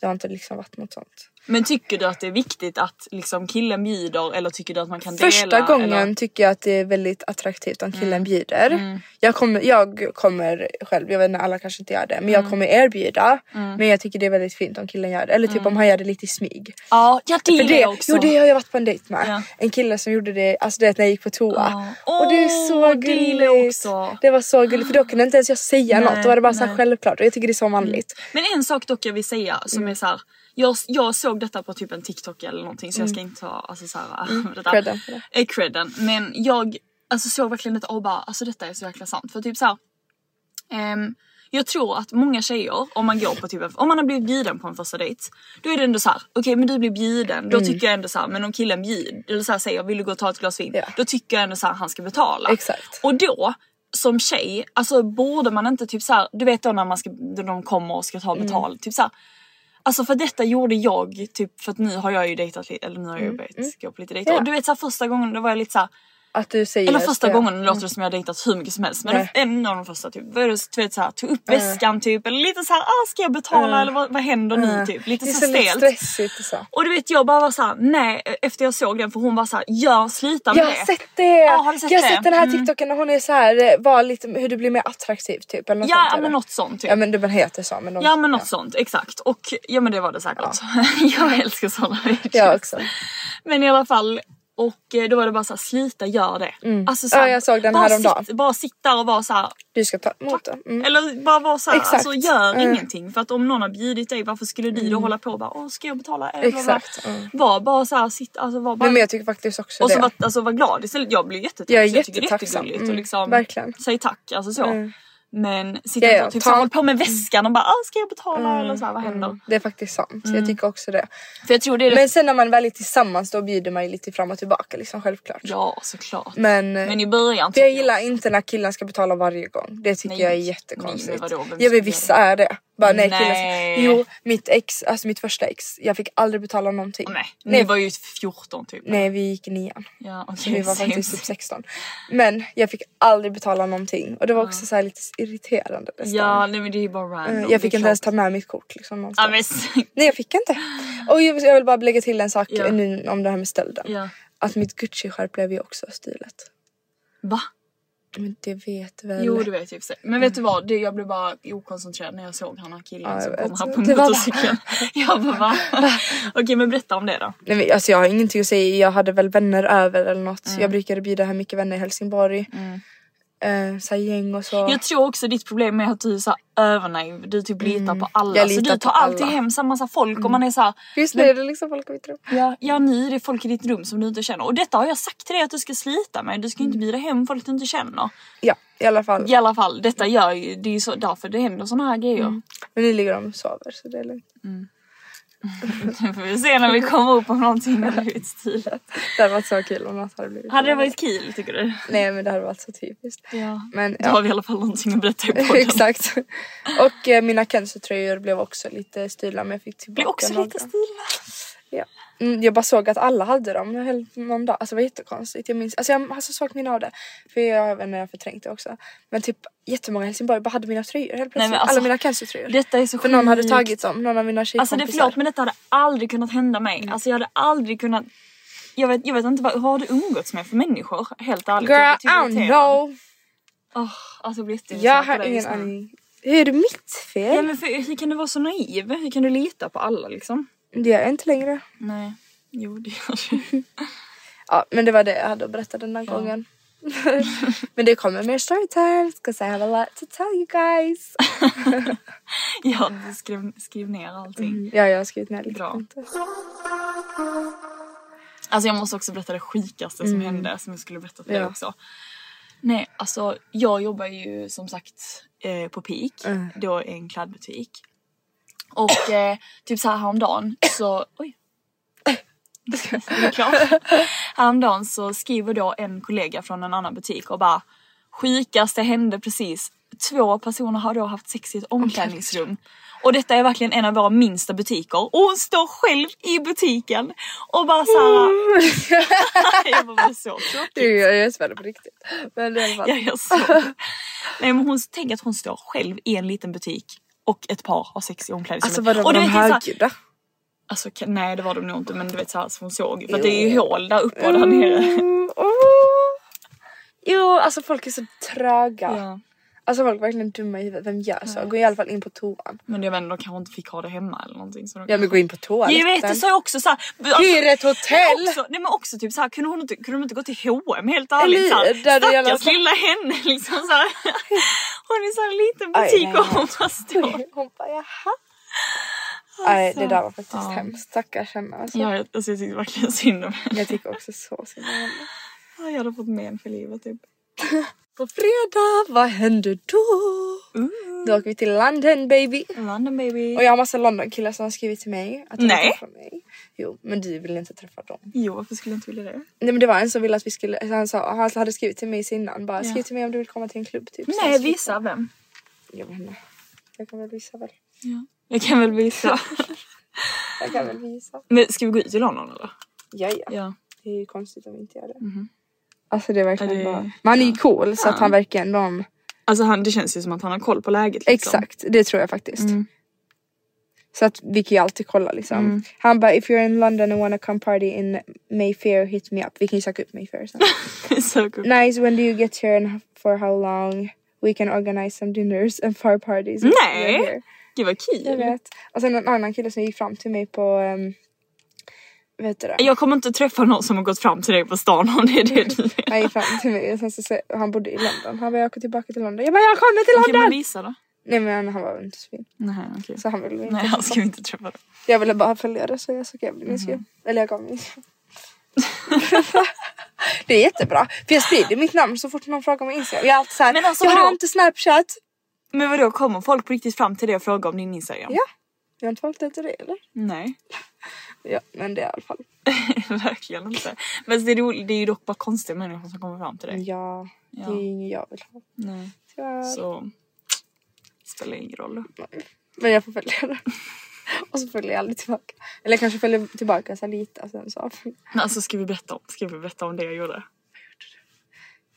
[SPEAKER 2] det har inte liksom varit något sånt.
[SPEAKER 1] Men tycker du att det är viktigt att liksom, killen bjuder eller tycker du att man kan dela?
[SPEAKER 2] Första gången
[SPEAKER 1] Eller? Mm.
[SPEAKER 2] tycker jag att det är väldigt attraktivt om killen bjuder. Jag, kommer, jag kommer själv, jag vet inte alla kanske inte gör det, men
[SPEAKER 1] Mm.
[SPEAKER 2] jag kommer erbjuda. Men jag tycker det är väldigt fint om killen gör det. Eller typ om han gör det lite i smyg.
[SPEAKER 1] Ja, ja Mm. det
[SPEAKER 2] För
[SPEAKER 1] gör
[SPEAKER 2] det,
[SPEAKER 1] jag också.
[SPEAKER 2] jo det har jag varit på en dejt med.
[SPEAKER 1] Ja.
[SPEAKER 2] En kille som gjorde det, alltså det när jag gick på toa.
[SPEAKER 1] Ja.
[SPEAKER 2] Och det är
[SPEAKER 1] Åh,
[SPEAKER 2] så
[SPEAKER 1] det gillar jag
[SPEAKER 2] gulligt.
[SPEAKER 1] också.
[SPEAKER 2] Det var så gulligt för då kunde inte ens jag säga
[SPEAKER 1] Nej,
[SPEAKER 2] något. Då var det bara så här
[SPEAKER 1] nej. Mm.
[SPEAKER 2] självklart och jag tycker det är så manligt.
[SPEAKER 1] Men en sak dock jag vill säga som är så här. Jag, jag såg detta på typ en TikTok eller någonting så jag ska inte ta alltså, så här, detta.
[SPEAKER 2] Mm. credden för det.
[SPEAKER 1] Eh, credden. Men jag alltså, såg verkligen detta och bara alltså detta är så jäkla sant. För typ så här, ehm, jag tror att många tjejer, om man går på typ en- om man har blivit bjuden på en första dejt, då är det ändå så här, okej men du blir bjuden,
[SPEAKER 2] Mm.
[SPEAKER 1] då tycker jag ändå så här, men om killen bjud, eller så här säger vill du gå och ta ett glas vin,
[SPEAKER 2] Ja.
[SPEAKER 1] då tycker jag ändå så här, han ska betala.
[SPEAKER 2] Exakt.
[SPEAKER 1] Och då som tjej, alltså borde man inte typ så här, du vet då när man ska, när de kommer och ska ta
[SPEAKER 2] Mm.
[SPEAKER 1] betalt, typ så här, Alltså för detta gjorde jag, typ för att nu har jag ju dejtat lite, eller nu har jag ju börjat gå på lite dejter.
[SPEAKER 2] Mm, Ja.
[SPEAKER 1] Och du vet såhär första gången då var jag lite såhär,
[SPEAKER 2] Att du säger
[SPEAKER 1] eller första
[SPEAKER 2] det.
[SPEAKER 1] gången låter det som jag har dejtat hur mycket som helst. Men
[SPEAKER 2] Nej.
[SPEAKER 1] en av de första typ, var det, du vet såhär, tog upp väskan typ, eller lite såhär, ah, ska jag betala eller vad, vad händer nu typ? Lite
[SPEAKER 2] det är
[SPEAKER 1] så
[SPEAKER 2] så lite
[SPEAKER 1] stelt.
[SPEAKER 2] stressigt och så.
[SPEAKER 1] Och du vet jag bara var såhär, nej efter jag såg den för hon var såhär, gör sluta med
[SPEAKER 2] Jag
[SPEAKER 1] det.
[SPEAKER 2] har sett det!
[SPEAKER 1] Ja, har du sett
[SPEAKER 2] jag
[SPEAKER 1] det?
[SPEAKER 2] har
[SPEAKER 1] Mm.
[SPEAKER 2] sett den här tiktoken när hon är så här, eh, var lite, hur du blir mer attraktiv typ. Eller något
[SPEAKER 1] Ja,
[SPEAKER 2] sånt,
[SPEAKER 1] ja
[SPEAKER 2] eller?
[SPEAKER 1] men något sånt typ.
[SPEAKER 2] Ja men det man heter så. Men de,
[SPEAKER 1] Ja men något sånt, exakt. Och ja men det var det säkert. jag älskar sådana videos.
[SPEAKER 2] Jag också.
[SPEAKER 1] Men i alla fall, Och eh, då var det bara så här, sluta gör det. Alltså,
[SPEAKER 2] Mm. Ja, jag såg den
[SPEAKER 1] bara
[SPEAKER 2] häromdagen.
[SPEAKER 1] Sitt, bara sitta där och vara så här,
[SPEAKER 2] Du ska ta emot den. Mm.
[SPEAKER 1] eller bara vara så här,
[SPEAKER 2] Exakt.
[SPEAKER 1] alltså gör
[SPEAKER 2] Mm.
[SPEAKER 1] ingenting. För att om någon har bjudit dig, varför skulle du då hålla på och bara, åh ska jag betala? Eh, bla, bla.
[SPEAKER 2] Exakt, mm.
[SPEAKER 1] Var bara så här, sitt, alltså var bara
[SPEAKER 2] Nej, men jag tycker faktiskt också
[SPEAKER 1] och
[SPEAKER 2] det.
[SPEAKER 1] så var, alltså, var glad istället. Jag blev jättetacksam.
[SPEAKER 2] Jag är
[SPEAKER 1] tycker det är
[SPEAKER 2] jättetacksam.
[SPEAKER 1] jättegulligt
[SPEAKER 2] Mm,
[SPEAKER 1] och liksom,
[SPEAKER 2] verkligen.
[SPEAKER 1] säg tack. Alltså så.
[SPEAKER 2] Mm.
[SPEAKER 1] Men sitta
[SPEAKER 2] Ja,
[SPEAKER 1] inte
[SPEAKER 2] ja,
[SPEAKER 1] och typ så
[SPEAKER 2] ta- Mm.
[SPEAKER 1] här, håll på med väskan och bara "Ah, ska jag betala eller så här, vad händer?
[SPEAKER 2] Det är faktiskt sant. Jag tycker också det.
[SPEAKER 1] För jag tror Mm. det är det.
[SPEAKER 2] Men sen när man väl är tillsammans då bjuder man ju lite fram och tillbaka liksom självklart.
[SPEAKER 1] Ja såklart.
[SPEAKER 2] Men, eh,
[SPEAKER 1] Men i början
[SPEAKER 2] för jag
[SPEAKER 1] tycker
[SPEAKER 2] gillar inte när killarna ska betala varje gång. Det tycker
[SPEAKER 1] Nej.
[SPEAKER 2] jag är jättekonstigt.
[SPEAKER 1] Nej, men vadå, vem ska
[SPEAKER 2] ja men
[SPEAKER 1] göra
[SPEAKER 2] vissa är det. Bara nej, killar
[SPEAKER 1] Nej.
[SPEAKER 2] ska... Jo mitt ex, alltså mitt första ex, jag fick aldrig betala någonting.
[SPEAKER 1] Nej,
[SPEAKER 2] Nej.
[SPEAKER 1] ni var ju 14 typ.
[SPEAKER 2] Nej vi gick i nian.
[SPEAKER 1] Ja,
[SPEAKER 2] Så
[SPEAKER 1] okay,
[SPEAKER 2] vi var faktiskt typ 16. Men jag fick aldrig betala någonting och det var också så här lite irriterande nästan.
[SPEAKER 1] Ja nej men det är ju bara random.
[SPEAKER 2] Eh,
[SPEAKER 1] det är
[SPEAKER 2] jag fick
[SPEAKER 1] klart.
[SPEAKER 2] inte ens ta med mitt kort liksom någonstans.
[SPEAKER 1] Ja men s-
[SPEAKER 2] Nej jag fick inte. Och jag jag vill bara lägga till en sak
[SPEAKER 1] Ja.
[SPEAKER 2] nu om det här med stölden.
[SPEAKER 1] ja.
[SPEAKER 2] Att mitt Gucci-skärp blev ju också stulet.
[SPEAKER 1] Va?
[SPEAKER 2] Men det vet väl...
[SPEAKER 1] Jo det vet jag i och för sig. Men vet du vad? Det, jag blev bara okoncentrerad när jag såg han här killen
[SPEAKER 2] Ja, jag
[SPEAKER 1] som
[SPEAKER 2] vet.
[SPEAKER 1] kom här på
[SPEAKER 2] Det var-
[SPEAKER 1] motorcykeln. Jag bara va? Okej men berätta om det då.
[SPEAKER 2] Nej, men, alltså jag har ingenting att säga. Jag hade väl vänner över eller något. Jag brukade bjuda hem mycket vänner i Helsingborg. Eh, så här gäng och så.
[SPEAKER 1] Mm. Jag tror också ditt problem är att du är så här övernaiv. Du typ litar på alla.
[SPEAKER 2] Mm. Jag
[SPEAKER 1] så
[SPEAKER 2] litar
[SPEAKER 1] du tar
[SPEAKER 2] på
[SPEAKER 1] alltid
[SPEAKER 2] alla. Mm.
[SPEAKER 1] hem samma så här folk och man är så här,
[SPEAKER 2] Just nu är det liksom folk i mitt rum.
[SPEAKER 1] ja, ja ni är det folk i ditt rum som du inte känner. Och detta har jag sagt till dig att du ska slita med. Du ska
[SPEAKER 2] Mm.
[SPEAKER 1] inte bjuda hem folk du inte känner.
[SPEAKER 2] Ja, i alla fall.
[SPEAKER 1] I alla fall, detta gör ju, det är ju så, därför det händer såna här grejer.
[SPEAKER 2] Mm. Men nu ligger de och sover så det är lugnt.
[SPEAKER 1] Nu får vi se när vi kommer upp om någonting har blivit stilat.
[SPEAKER 2] Det hade varit så kul om något hade blivit
[SPEAKER 1] Hade det varit kul tycker du?
[SPEAKER 2] Nej men det hade varit så typiskt.
[SPEAKER 1] Ja.
[SPEAKER 2] Men
[SPEAKER 1] Då har
[SPEAKER 2] ja.
[SPEAKER 1] vi i alla fall någonting att berätta i podden. Exakt.
[SPEAKER 2] Exakt. Och eh, mina Kenzo-tröjor blev också lite stulna men jag fick
[SPEAKER 1] Det
[SPEAKER 2] tillbaka
[SPEAKER 1] blir också
[SPEAKER 2] några.
[SPEAKER 1] lite stilat.
[SPEAKER 2] Ja. Mm, jag bara såg att alla hade dem en hel- någon dag. Alltså det var jättekonstigt. Jag minns, alltså jag har så svagt minne av det. För jag vet när jag har eh, förträngt det också. Men typ jättemånga i Helsingborg bara hade mina tröjor helt plötsligt.
[SPEAKER 1] men alltså,
[SPEAKER 2] alla mina cancertröjor.
[SPEAKER 1] Detta är så
[SPEAKER 2] För någon hade
[SPEAKER 1] sjukt.
[SPEAKER 2] tagit dem, någon av mina
[SPEAKER 1] Alltså
[SPEAKER 2] tjejkompisar.
[SPEAKER 1] det, förlåt men detta hade aldrig kunnat hända mig.
[SPEAKER 2] Mm.
[SPEAKER 1] Alltså jag hade aldrig kunnat. Jag vet, jag vet inte vad, vad har du umgåtts med för människor? Helt ärligt.
[SPEAKER 2] Girl,
[SPEAKER 1] jag
[SPEAKER 2] I don't know.
[SPEAKER 1] Oh, alltså jag blir jätteirriterad
[SPEAKER 2] Jag
[SPEAKER 1] på
[SPEAKER 2] har
[SPEAKER 1] dig
[SPEAKER 2] ingen
[SPEAKER 1] just nu.
[SPEAKER 2] aning. Hur är det mitt fel?
[SPEAKER 1] Ja, men för, hur kan du vara så naiv? Hur kan du lita på alla liksom?
[SPEAKER 2] Det gör jag inte längre.
[SPEAKER 1] Nej. Jo det gör du.
[SPEAKER 2] Ja, men det var det jag hade att berätta den här gången. men det kommer mer storytimes 'cause I have a lot to tell you guys.
[SPEAKER 1] ja Mm. du skrev, skrev ner allting.
[SPEAKER 2] Ja, jag har skrivit ner lite.
[SPEAKER 1] Bra.
[SPEAKER 2] punkter.
[SPEAKER 1] Alltså jag måste också berätta det sjukaste som hände som jag skulle berätta för dig
[SPEAKER 2] Ja.
[SPEAKER 1] också. Nej, alltså jag jobbar ju som sagt eh, på Peak, då i en klädbutik. Och eh, typ så här häromdagen så... Oj. Är det klart? Häromdagen så skriver då en kollega från en annan butik och bara sjukaste hände precis. Två personer har då haft sex i ett omklädningsrum. Och detta är verkligen en av våra minsta butiker. Och hon står själv i butiken och bara såhär... jag bara, "Vad är så klart?"
[SPEAKER 2] Du, jag Mm. är spänd på riktigt. Men i alla fall.
[SPEAKER 1] Ja, jag såg. Nej, men hon tänker att hon står själv i en liten butik och ett par har sex i omklädningsrummet.
[SPEAKER 2] Alltså var det
[SPEAKER 1] och du
[SPEAKER 2] var de
[SPEAKER 1] vet, det är så här-
[SPEAKER 2] högljudda?
[SPEAKER 1] Alltså kan- nej det var de nog inte men du vet såhär som hon såg. För att det är ju hål där uppe och där nere.
[SPEAKER 2] Mm, åh. Jo, alltså folk är så tröga.
[SPEAKER 1] Ja.
[SPEAKER 2] Alltså folk är verkligen dumma i huvudet. Vem gör så? Gå i alla fall in på toan.
[SPEAKER 1] Men jag vet inte, de kanske inte fick ha det hemma eller någonting. Så de...
[SPEAKER 2] Ja men gå in på toaletten.
[SPEAKER 1] jag vet, det sa jag också såhär. Alltså,
[SPEAKER 2] Hyr ett hotell!
[SPEAKER 1] Också, nej men också typ såhär, kunde, hon inte, kunde de inte gå till H&M helt ärligt?
[SPEAKER 2] Eller
[SPEAKER 1] Så här,
[SPEAKER 2] hur? Där det gäller-
[SPEAKER 1] stackars lilla henne liksom såhär. Hon är såhär en liten
[SPEAKER 2] Aj,
[SPEAKER 1] butik
[SPEAKER 2] nej,
[SPEAKER 1] och
[SPEAKER 2] nej.
[SPEAKER 1] hon bara står.
[SPEAKER 2] Hon bara jaha. Nej det där var faktiskt
[SPEAKER 1] Ja.
[SPEAKER 2] hemskt. Stackars henne alltså.
[SPEAKER 1] Alltså. Ja, jag- alltså, jag tyckte verkligen synd om henne.
[SPEAKER 2] Jag tycker också så synd om henne.
[SPEAKER 1] Ja, Jag hade fått men för livet typ.
[SPEAKER 2] På fredag, vad händer då? Då åker vi till London baby.
[SPEAKER 1] London baby.
[SPEAKER 2] Och jag har massa London-killar som har skrivit till mig att de
[SPEAKER 1] Nej.
[SPEAKER 2] vill träffa mig. Jo, men du vill inte träffa dem.
[SPEAKER 1] Jo varför skulle jag inte vilja det?
[SPEAKER 2] Nej men det var en som ville att vi skulle, alltså han sa, han hade skrivit till mig innan bara
[SPEAKER 1] Ja.
[SPEAKER 2] skriv till mig om du vill komma till en klubb typ. Så
[SPEAKER 1] Nej
[SPEAKER 2] jag skrev-
[SPEAKER 1] visa vem?
[SPEAKER 2] Jag vet inte. Jag kan väl visa väl.
[SPEAKER 1] Jag kan väl visa.
[SPEAKER 2] Jag kan väl visa.
[SPEAKER 1] Men ska vi gå ut i London eller?
[SPEAKER 2] Ja, ja.
[SPEAKER 1] Ja. Mhm.
[SPEAKER 2] Det är ju konstigt om vi inte gör det. Alltså det är verkligen
[SPEAKER 1] Ja, det-
[SPEAKER 2] bara. Men han är ju cool så att han verkar ändå om...
[SPEAKER 1] Alltså han, det känns ju som att han har koll på läget liksom. Mm.
[SPEAKER 2] Exakt, det tror jag faktiskt. Så att vi kan ju alltid kolla liksom. Han bara if you're in London and wanna come party in Mayfair hit me up. Vi kan ju söka upp Mayfair sen.
[SPEAKER 1] Så cool.
[SPEAKER 2] nice, when do you get here and for how long? We can organize some dinners and far parties. if
[SPEAKER 1] Nej.
[SPEAKER 2] you're here."
[SPEAKER 1] Gud vad kul.
[SPEAKER 2] Jag vet. Och sen en annan kille som gick fram till mig på ehm, vad heter det?
[SPEAKER 1] Jag kommer inte träffa någon som har gått fram till dig på stan om det är det du menar.
[SPEAKER 2] Han gick fram till mig och sen så, sa- han bodde i London. Han bara jag åker tillbaka till London. Jag bara jag kommer till
[SPEAKER 1] Okej men
[SPEAKER 2] London!
[SPEAKER 1] visa då.
[SPEAKER 2] Nej men han var väl inte så fin.
[SPEAKER 1] Nej okej.
[SPEAKER 2] Så han ville inte.
[SPEAKER 1] Nej han ska vi inte träffa då.
[SPEAKER 2] Jag ville bara följa det så jag så gav
[SPEAKER 1] Mhm.
[SPEAKER 2] min skruv. Eller jag gav min skruv. Det är jättebra. För jag sprider mitt namn så fort någon frågar mig Instagram. Jag är alltid såhär,
[SPEAKER 1] Men alltså,
[SPEAKER 2] jag har
[SPEAKER 1] vadå?
[SPEAKER 2] inte snapchat.
[SPEAKER 1] Men vadå kommer folk på riktigt fram till dig och frågar om din instagram?
[SPEAKER 2] Ja. Jag har inte valt efter det eller?
[SPEAKER 1] Nej.
[SPEAKER 2] Ja men det är i alla fall.
[SPEAKER 1] Verkligen inte. Men det är, roligt, det är ju dock bara konstiga människor som kommer fram till dig.
[SPEAKER 2] Ja, det är ju inget jag vill ha.
[SPEAKER 1] Nej.
[SPEAKER 2] Tyvärr.
[SPEAKER 1] Mm. Så spelar ingen roll.
[SPEAKER 2] Men jag får följa det. Och så följer jag aldrig tillbaka. Eller jag kanske följer tillbaka så här lite och sen så avföljer jag.
[SPEAKER 1] Men alltså ska vi berätta om, ska vi berätta om det jag gjorde?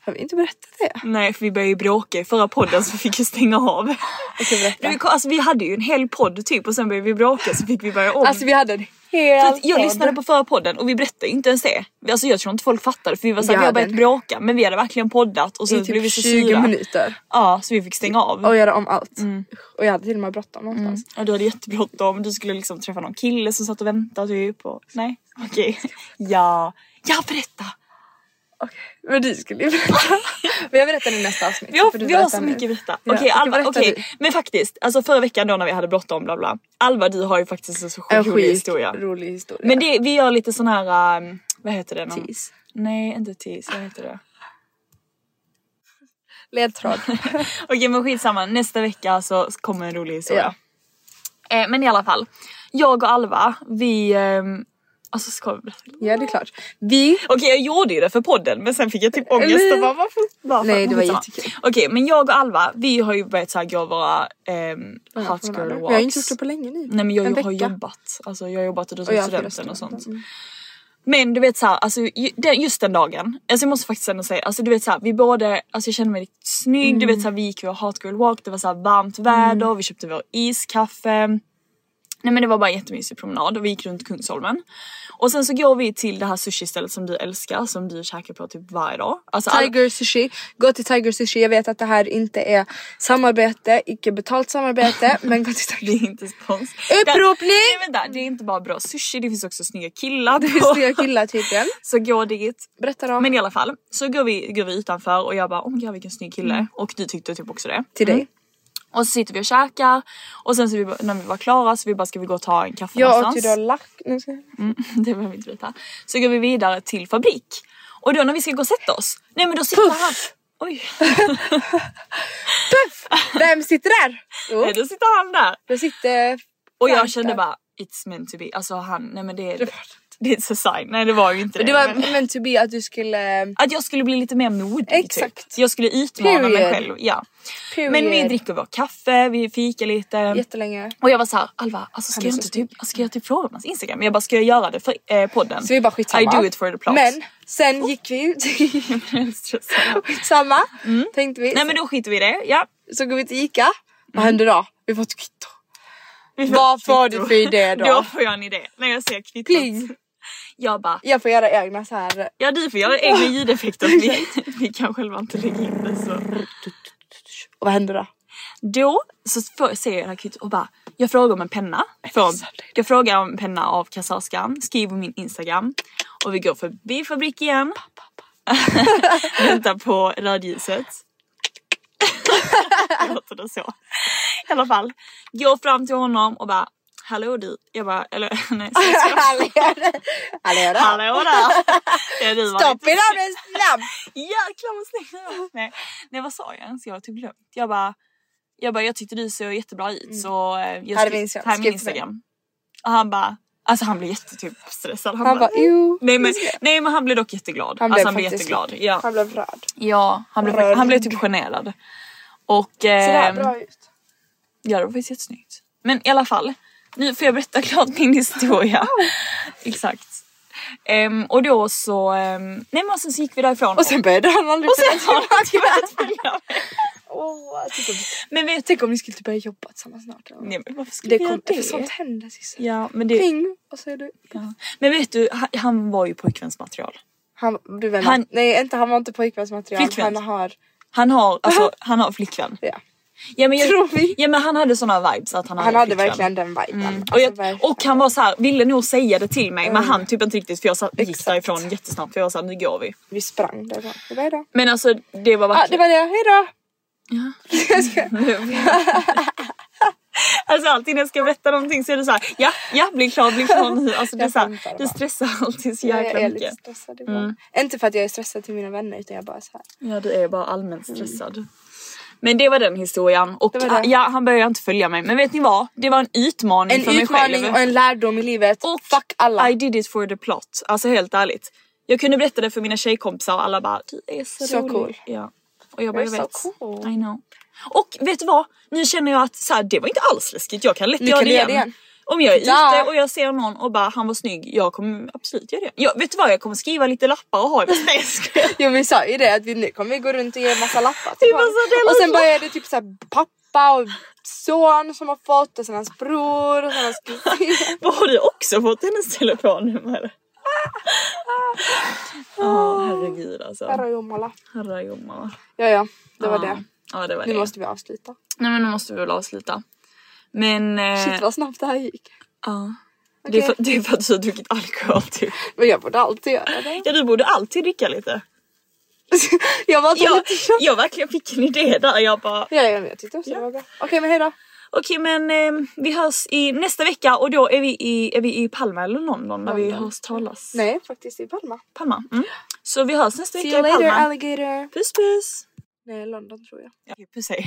[SPEAKER 2] Har vi inte berättat det?
[SPEAKER 1] Nej för vi började ju bråka i förra podden så vi fick ju stänga av.
[SPEAKER 2] Okej berätta.
[SPEAKER 1] Vi, alltså, vi hade ju en hel podd typ och sen började vi bråka så fick vi börja om.
[SPEAKER 2] Alltså vi hade en
[SPEAKER 1] För
[SPEAKER 2] hel
[SPEAKER 1] att jag
[SPEAKER 2] podd.
[SPEAKER 1] lyssnade på förra podden och vi berättade inte ens det. Vi- Alltså jag tror inte folk fattade för vi var såhär,
[SPEAKER 2] Ja,
[SPEAKER 1] vi har börjat
[SPEAKER 2] den-
[SPEAKER 1] bråka men vi hade verkligen poddat och
[SPEAKER 2] i
[SPEAKER 1] så blev vi
[SPEAKER 2] typ
[SPEAKER 1] så
[SPEAKER 2] 20
[SPEAKER 1] sura. Mm.
[SPEAKER 2] minuter.
[SPEAKER 1] Ja så vi fick stänga av.
[SPEAKER 2] Och göra om allt. Och jag hade till och med bråttom någonstans.
[SPEAKER 1] Ja, du hade jättebråttom, du skulle liksom träffa någon kille som satt och väntade typ och nej okej. Ja, ja berätta!
[SPEAKER 2] Okej, men du skulle ju berätta. men jag berättar i nästa avsnitt.
[SPEAKER 1] Vi har,
[SPEAKER 2] för du
[SPEAKER 1] vi har
[SPEAKER 2] berättar
[SPEAKER 1] så
[SPEAKER 2] nu.
[SPEAKER 1] mycket att berätta.
[SPEAKER 2] Ja,
[SPEAKER 1] Okej
[SPEAKER 2] okej,
[SPEAKER 1] Alva,
[SPEAKER 2] berätta
[SPEAKER 1] okej.
[SPEAKER 2] du.
[SPEAKER 1] Men faktiskt, alltså förra veckan då när vi hade bråttom bla bla. Alva du har ju faktiskt en så
[SPEAKER 2] En
[SPEAKER 1] sjukt rolig
[SPEAKER 2] sjukt
[SPEAKER 1] historia.
[SPEAKER 2] rolig historia.
[SPEAKER 1] Men det, vi gör lite sån här, ehm, vad heter det? Någon-
[SPEAKER 2] Tease.
[SPEAKER 1] Nej inte tease, vad heter det?
[SPEAKER 2] Ledtråd.
[SPEAKER 1] Okej men skitsamma, nästa vecka så kommer en rolig historia. Eh, men i alla fall, jag och Alva vi... ehm, alltså ska vi berätta?
[SPEAKER 2] ja det är klart. Vi...
[SPEAKER 1] Okej jag gjorde ju det för podden men sen fick jag typ ångest och
[SPEAKER 2] Eller-
[SPEAKER 1] bara varför? varför?
[SPEAKER 2] Nej, det var
[SPEAKER 1] Skitsamma.
[SPEAKER 2] jättekul.
[SPEAKER 1] Okej men jag och Alva vi har ju börjat såhär gå våra ehm, hot girl
[SPEAKER 2] Jag
[SPEAKER 1] walks.
[SPEAKER 2] har inte gjort det på länge nu.
[SPEAKER 1] Nej men jag
[SPEAKER 2] En
[SPEAKER 1] har
[SPEAKER 2] vecka.
[SPEAKER 1] jobbat. Alltså jag har jobbat och då
[SPEAKER 2] Och jag
[SPEAKER 1] tog
[SPEAKER 2] har förlorat
[SPEAKER 1] studenten och sånt.
[SPEAKER 2] studenten.
[SPEAKER 1] Men du vet såhär, alltså, ju- den- just den dagen, alltså jag måste faktiskt ändå säga, alltså du vet såhär, vi båda, alltså jag kände mig riktigt snygg, du vet såhär vi gick vår hot girl walk, det var såhär varmt väder, vi köpte vår iskaffe. Nej men det var bara en jättemysig promenad och vi gick runt Kungsholmen. Och sen så går vi till det här sushi-stället som du älskar, som du käkar på typ varje dag. Alltså, all-
[SPEAKER 2] Tiger Sushi, gå till Tiger Sushi. Jag vet att det här inte är samarbete, icke betalt samarbete, men gå till
[SPEAKER 1] Det
[SPEAKER 2] Tiger
[SPEAKER 1] är inte spons.
[SPEAKER 2] Uppropning!
[SPEAKER 1] Nej, vänta, det är inte bara bra sushi, det finns också snygga killar. på-
[SPEAKER 2] Sushi. Jag killar tydligen.
[SPEAKER 1] Så gå dit.
[SPEAKER 2] Berätta då.
[SPEAKER 1] Men i alla fall så går vi, går vi utanför och jag bara oh my god vilken snygg kille och du tyckte typ också det.
[SPEAKER 2] Mm. till dig.
[SPEAKER 1] Och så sitter vi och käkar och sen så vi, bara- när vi var klara så vi bara ska vi gå och ta en kaffe
[SPEAKER 2] Jag åt ju
[SPEAKER 1] någonstans.
[SPEAKER 2] då lack... Nej, ska jag-
[SPEAKER 1] det behöver vi inte veta. Så går vi vidare till fabrik och då när vi ska gå och sätta oss, nej men då sitter han. Oj,
[SPEAKER 2] Vem sitter där? Jo,
[SPEAKER 1] nej, då sitter han där.
[SPEAKER 2] jag sitter...
[SPEAKER 1] Och
[SPEAKER 2] Frank
[SPEAKER 1] jag kände
[SPEAKER 2] där.
[SPEAKER 1] bara it's meant to be. Alltså han, nej men det är...
[SPEAKER 2] Det var det
[SPEAKER 1] Det är ett design. Nej det var ju inte det.
[SPEAKER 2] Det var
[SPEAKER 1] men-
[SPEAKER 2] meant to be att du skulle... eh,
[SPEAKER 1] Att jag skulle bli lite mer modig. Typ.
[SPEAKER 2] Exakt.
[SPEAKER 1] Jag skulle utmana mig
[SPEAKER 2] Period.
[SPEAKER 1] själv. Ja.
[SPEAKER 2] Period.
[SPEAKER 1] Men vi dricker vår kaffe, vi fikar lite.
[SPEAKER 2] Jättelänge.
[SPEAKER 1] Och jag var såhär, Alva alltså ska
[SPEAKER 2] Han är
[SPEAKER 1] jag
[SPEAKER 2] så
[SPEAKER 1] inte typ, ska jag typ fråga om hans instagram? Jag bara, ska jag göra det för eh, podden?
[SPEAKER 2] Så vi bara skitsamma.
[SPEAKER 1] I do it for the plot.
[SPEAKER 2] Men sen gick vi ut. skitsamma. Tänkte vi.
[SPEAKER 1] Mm. Nej men då skiter vi i det, ja.
[SPEAKER 2] Så går vi till Ica. Vad händer då? Vi får ett kvitto.
[SPEAKER 1] Vi
[SPEAKER 2] Vad får
[SPEAKER 1] kvitto.
[SPEAKER 2] du för idé då?
[SPEAKER 1] Då får jag en idé. När jag ser kvittot.
[SPEAKER 2] Pling.
[SPEAKER 1] Jag bara,
[SPEAKER 2] Jag får göra egna så här.
[SPEAKER 1] ja du får göra egna ljudeffekter. Vi, vi kan själva inte lägga in det så.
[SPEAKER 2] Och vad händer då?
[SPEAKER 1] Då så får- ser jag det här kvittot och bara, jag frågar om en penna. Från, jag frågar om en penna av kassörskan, skriver på min instagram och vi går förbi fabrik igen. Väntar på rödljuset. Låter det så? I alla fall, går fram till honom och bara, hallå du. Jag bara, eller nej, så jag ska-
[SPEAKER 2] Hallå där. Hallå där.
[SPEAKER 1] hallå där. Ja, du var
[SPEAKER 2] Stopp
[SPEAKER 1] lite
[SPEAKER 2] i namnet snabb.
[SPEAKER 1] jäklar vad snygg du Nej, nej vad sa jag ens? Jag har typ glömt. Jag bara, jag bara, jag tyckte du såg jättebra ut så eh, jag
[SPEAKER 2] Mm. Här är
[SPEAKER 1] skri-
[SPEAKER 2] min Instagram.
[SPEAKER 1] här är min
[SPEAKER 2] Skriv till mig.
[SPEAKER 1] Instagram. Och han bara, alltså han blev jättetyp stressad. Han,
[SPEAKER 2] Han bara jo.
[SPEAKER 1] nej men, nej men han blev dock jätteglad.
[SPEAKER 2] Han
[SPEAKER 1] alltså,
[SPEAKER 2] blev
[SPEAKER 1] han blev
[SPEAKER 2] faktiskt-
[SPEAKER 1] jätteglad. Ja,
[SPEAKER 2] Han blev röd.
[SPEAKER 1] ja han, blev,
[SPEAKER 2] Rörd.
[SPEAKER 1] han blev typ generad. Och
[SPEAKER 2] Så där,
[SPEAKER 1] eh,
[SPEAKER 2] bra ut.
[SPEAKER 1] ja det var faktiskt jättesnyggt. Men i alla fall, nu får jag berätta klart min historia. Exakt. Ehm, och då så, ehm, nej men och sen så gick vi därifrån.
[SPEAKER 2] Och sen började han aldrig
[SPEAKER 1] och sen har han tyvärr följa med.
[SPEAKER 2] Åh, tänk, om,
[SPEAKER 1] Men vet
[SPEAKER 2] tänk om ni skulle typ börja jobba tillsammans snart. eller?
[SPEAKER 1] Nej, men varför skulle
[SPEAKER 2] Det
[SPEAKER 1] vi
[SPEAKER 2] kom,
[SPEAKER 1] göra
[SPEAKER 2] för
[SPEAKER 1] det?
[SPEAKER 2] sånt händer Cissi.
[SPEAKER 1] Ja, men, det
[SPEAKER 2] Pling! Och så är du...
[SPEAKER 1] ja. men vet du, han, han var ju pojkvänsmaterial.
[SPEAKER 2] Han, du vänner.
[SPEAKER 1] Han-
[SPEAKER 2] Nej inte, han var inte pojkvänsmaterial.
[SPEAKER 1] Flickvän.
[SPEAKER 2] Han har...
[SPEAKER 1] Han har, alltså, han har flickvän.
[SPEAKER 2] Ja.
[SPEAKER 1] Ja, men jag,
[SPEAKER 2] Tror vi.
[SPEAKER 1] Ja men han hade såna vibes att han hade
[SPEAKER 2] Han hade
[SPEAKER 1] flickvän.
[SPEAKER 2] verkligen den viben. Alltså,
[SPEAKER 1] Mm. Och, jag,
[SPEAKER 2] verkligen.
[SPEAKER 1] och han var så här, ville nog säga det till mig men han typ inte riktigt för jag satt, gick
[SPEAKER 2] Exakt.
[SPEAKER 1] därifrån jättesnabbt för jag var såhär nu går vi.
[SPEAKER 2] Vi sprang därifrån. Det var hejdå.
[SPEAKER 1] Men alltså det var
[SPEAKER 2] Ah,
[SPEAKER 1] verkligen...
[SPEAKER 2] det var det, hejdå!
[SPEAKER 1] Alltså alltid när jag ska berätta någonting så är det så här, ja, ja, bli klar, bli klar nu. Alltså det, är
[SPEAKER 2] Jag
[SPEAKER 1] så
[SPEAKER 2] skämtar
[SPEAKER 1] här,
[SPEAKER 2] bara.
[SPEAKER 1] det stressar alltid så
[SPEAKER 2] Jag är
[SPEAKER 1] jäkla
[SPEAKER 2] lite
[SPEAKER 1] mycket.
[SPEAKER 2] stressad ibland.
[SPEAKER 1] Mm.
[SPEAKER 2] Inte för att jag är stressad till mina vänner utan jag bara så här.
[SPEAKER 1] Ja du är bara allmänt stressad. Men det var den historien och
[SPEAKER 2] Mm. Det var det.
[SPEAKER 1] ja han började inte följa mig men vet ni vad? Det var en utmaning
[SPEAKER 2] En
[SPEAKER 1] för mig
[SPEAKER 2] utmaning
[SPEAKER 1] själv.
[SPEAKER 2] och en lärdom i livet.
[SPEAKER 1] Och
[SPEAKER 2] Fuck alla.
[SPEAKER 1] I did it for the plot. Alltså helt ärligt. Jag kunde berätta det för mina tjejkompisar och alla bara du är så,
[SPEAKER 2] Så
[SPEAKER 1] rolig.
[SPEAKER 2] cool.
[SPEAKER 1] Ja. Och jag bara jag
[SPEAKER 2] You're
[SPEAKER 1] vet.
[SPEAKER 2] so cool.
[SPEAKER 1] I know. Och vet du vad? Nu känner jag att så här, det var inte alls läskigt. Jag kan lätt
[SPEAKER 2] Nu
[SPEAKER 1] göra
[SPEAKER 2] kan
[SPEAKER 1] det
[SPEAKER 2] du
[SPEAKER 1] igen.
[SPEAKER 2] göra det igen.
[SPEAKER 1] Om jag är
[SPEAKER 2] Ja.
[SPEAKER 1] ute och jag ser någon och bara han var snygg. Jag kommer absolut göra det. Jag, vet du vad? Jag kommer skriva lite lappar och ha i min väska.
[SPEAKER 2] Jo vi sa ju det att vi nu kommer vi gå runt och ge massa lappar till
[SPEAKER 1] Vi
[SPEAKER 2] barn.
[SPEAKER 1] måste dela
[SPEAKER 2] Och sen
[SPEAKER 1] ut
[SPEAKER 2] började det typ så här, pappa och son som har fått och sen hans bror och sen hans kusin.
[SPEAKER 1] Vad har du också fått hennes telefonnummer?
[SPEAKER 2] Ah.
[SPEAKER 1] Ja herregud
[SPEAKER 2] Här
[SPEAKER 1] alltså.
[SPEAKER 2] har jag och Mala.
[SPEAKER 1] Herra jomma.
[SPEAKER 2] Ja ja, det var
[SPEAKER 1] Ja.
[SPEAKER 2] det.
[SPEAKER 1] Ja det var
[SPEAKER 2] Nu
[SPEAKER 1] det.
[SPEAKER 2] måste vi avsluta.
[SPEAKER 1] Nej men nu måste vi väl avsluta. Men... Eh,
[SPEAKER 2] Shit vad snabbt det här gick.
[SPEAKER 1] ja. det,
[SPEAKER 2] Okej.
[SPEAKER 1] är för, det är för att du har druckit alkohol typ.
[SPEAKER 2] Men jag borde alltid göra det.
[SPEAKER 1] Ja du borde alltid dricka lite.
[SPEAKER 2] jag var alltid
[SPEAKER 1] Jag,
[SPEAKER 2] lite tjock.
[SPEAKER 1] jag verkligen fick en idé där. Jag bara
[SPEAKER 2] Ja, ja, men jag tyckte också det var bra. Okej men hejdå.
[SPEAKER 1] okej men eh, vi hörs i nästa vecka och då är vi i, är vi i Palma eller London när vi
[SPEAKER 2] London.
[SPEAKER 1] hörs talas.
[SPEAKER 2] Nej faktiskt i Palma.
[SPEAKER 1] Palma. Mm. Så vi hörs nästa
[SPEAKER 2] See
[SPEAKER 1] vecka
[SPEAKER 2] you
[SPEAKER 1] i
[SPEAKER 2] later
[SPEAKER 1] Palma.
[SPEAKER 2] alligator.
[SPEAKER 1] Puss puss!
[SPEAKER 2] Nej London tror jag.
[SPEAKER 1] Ja, puss hej.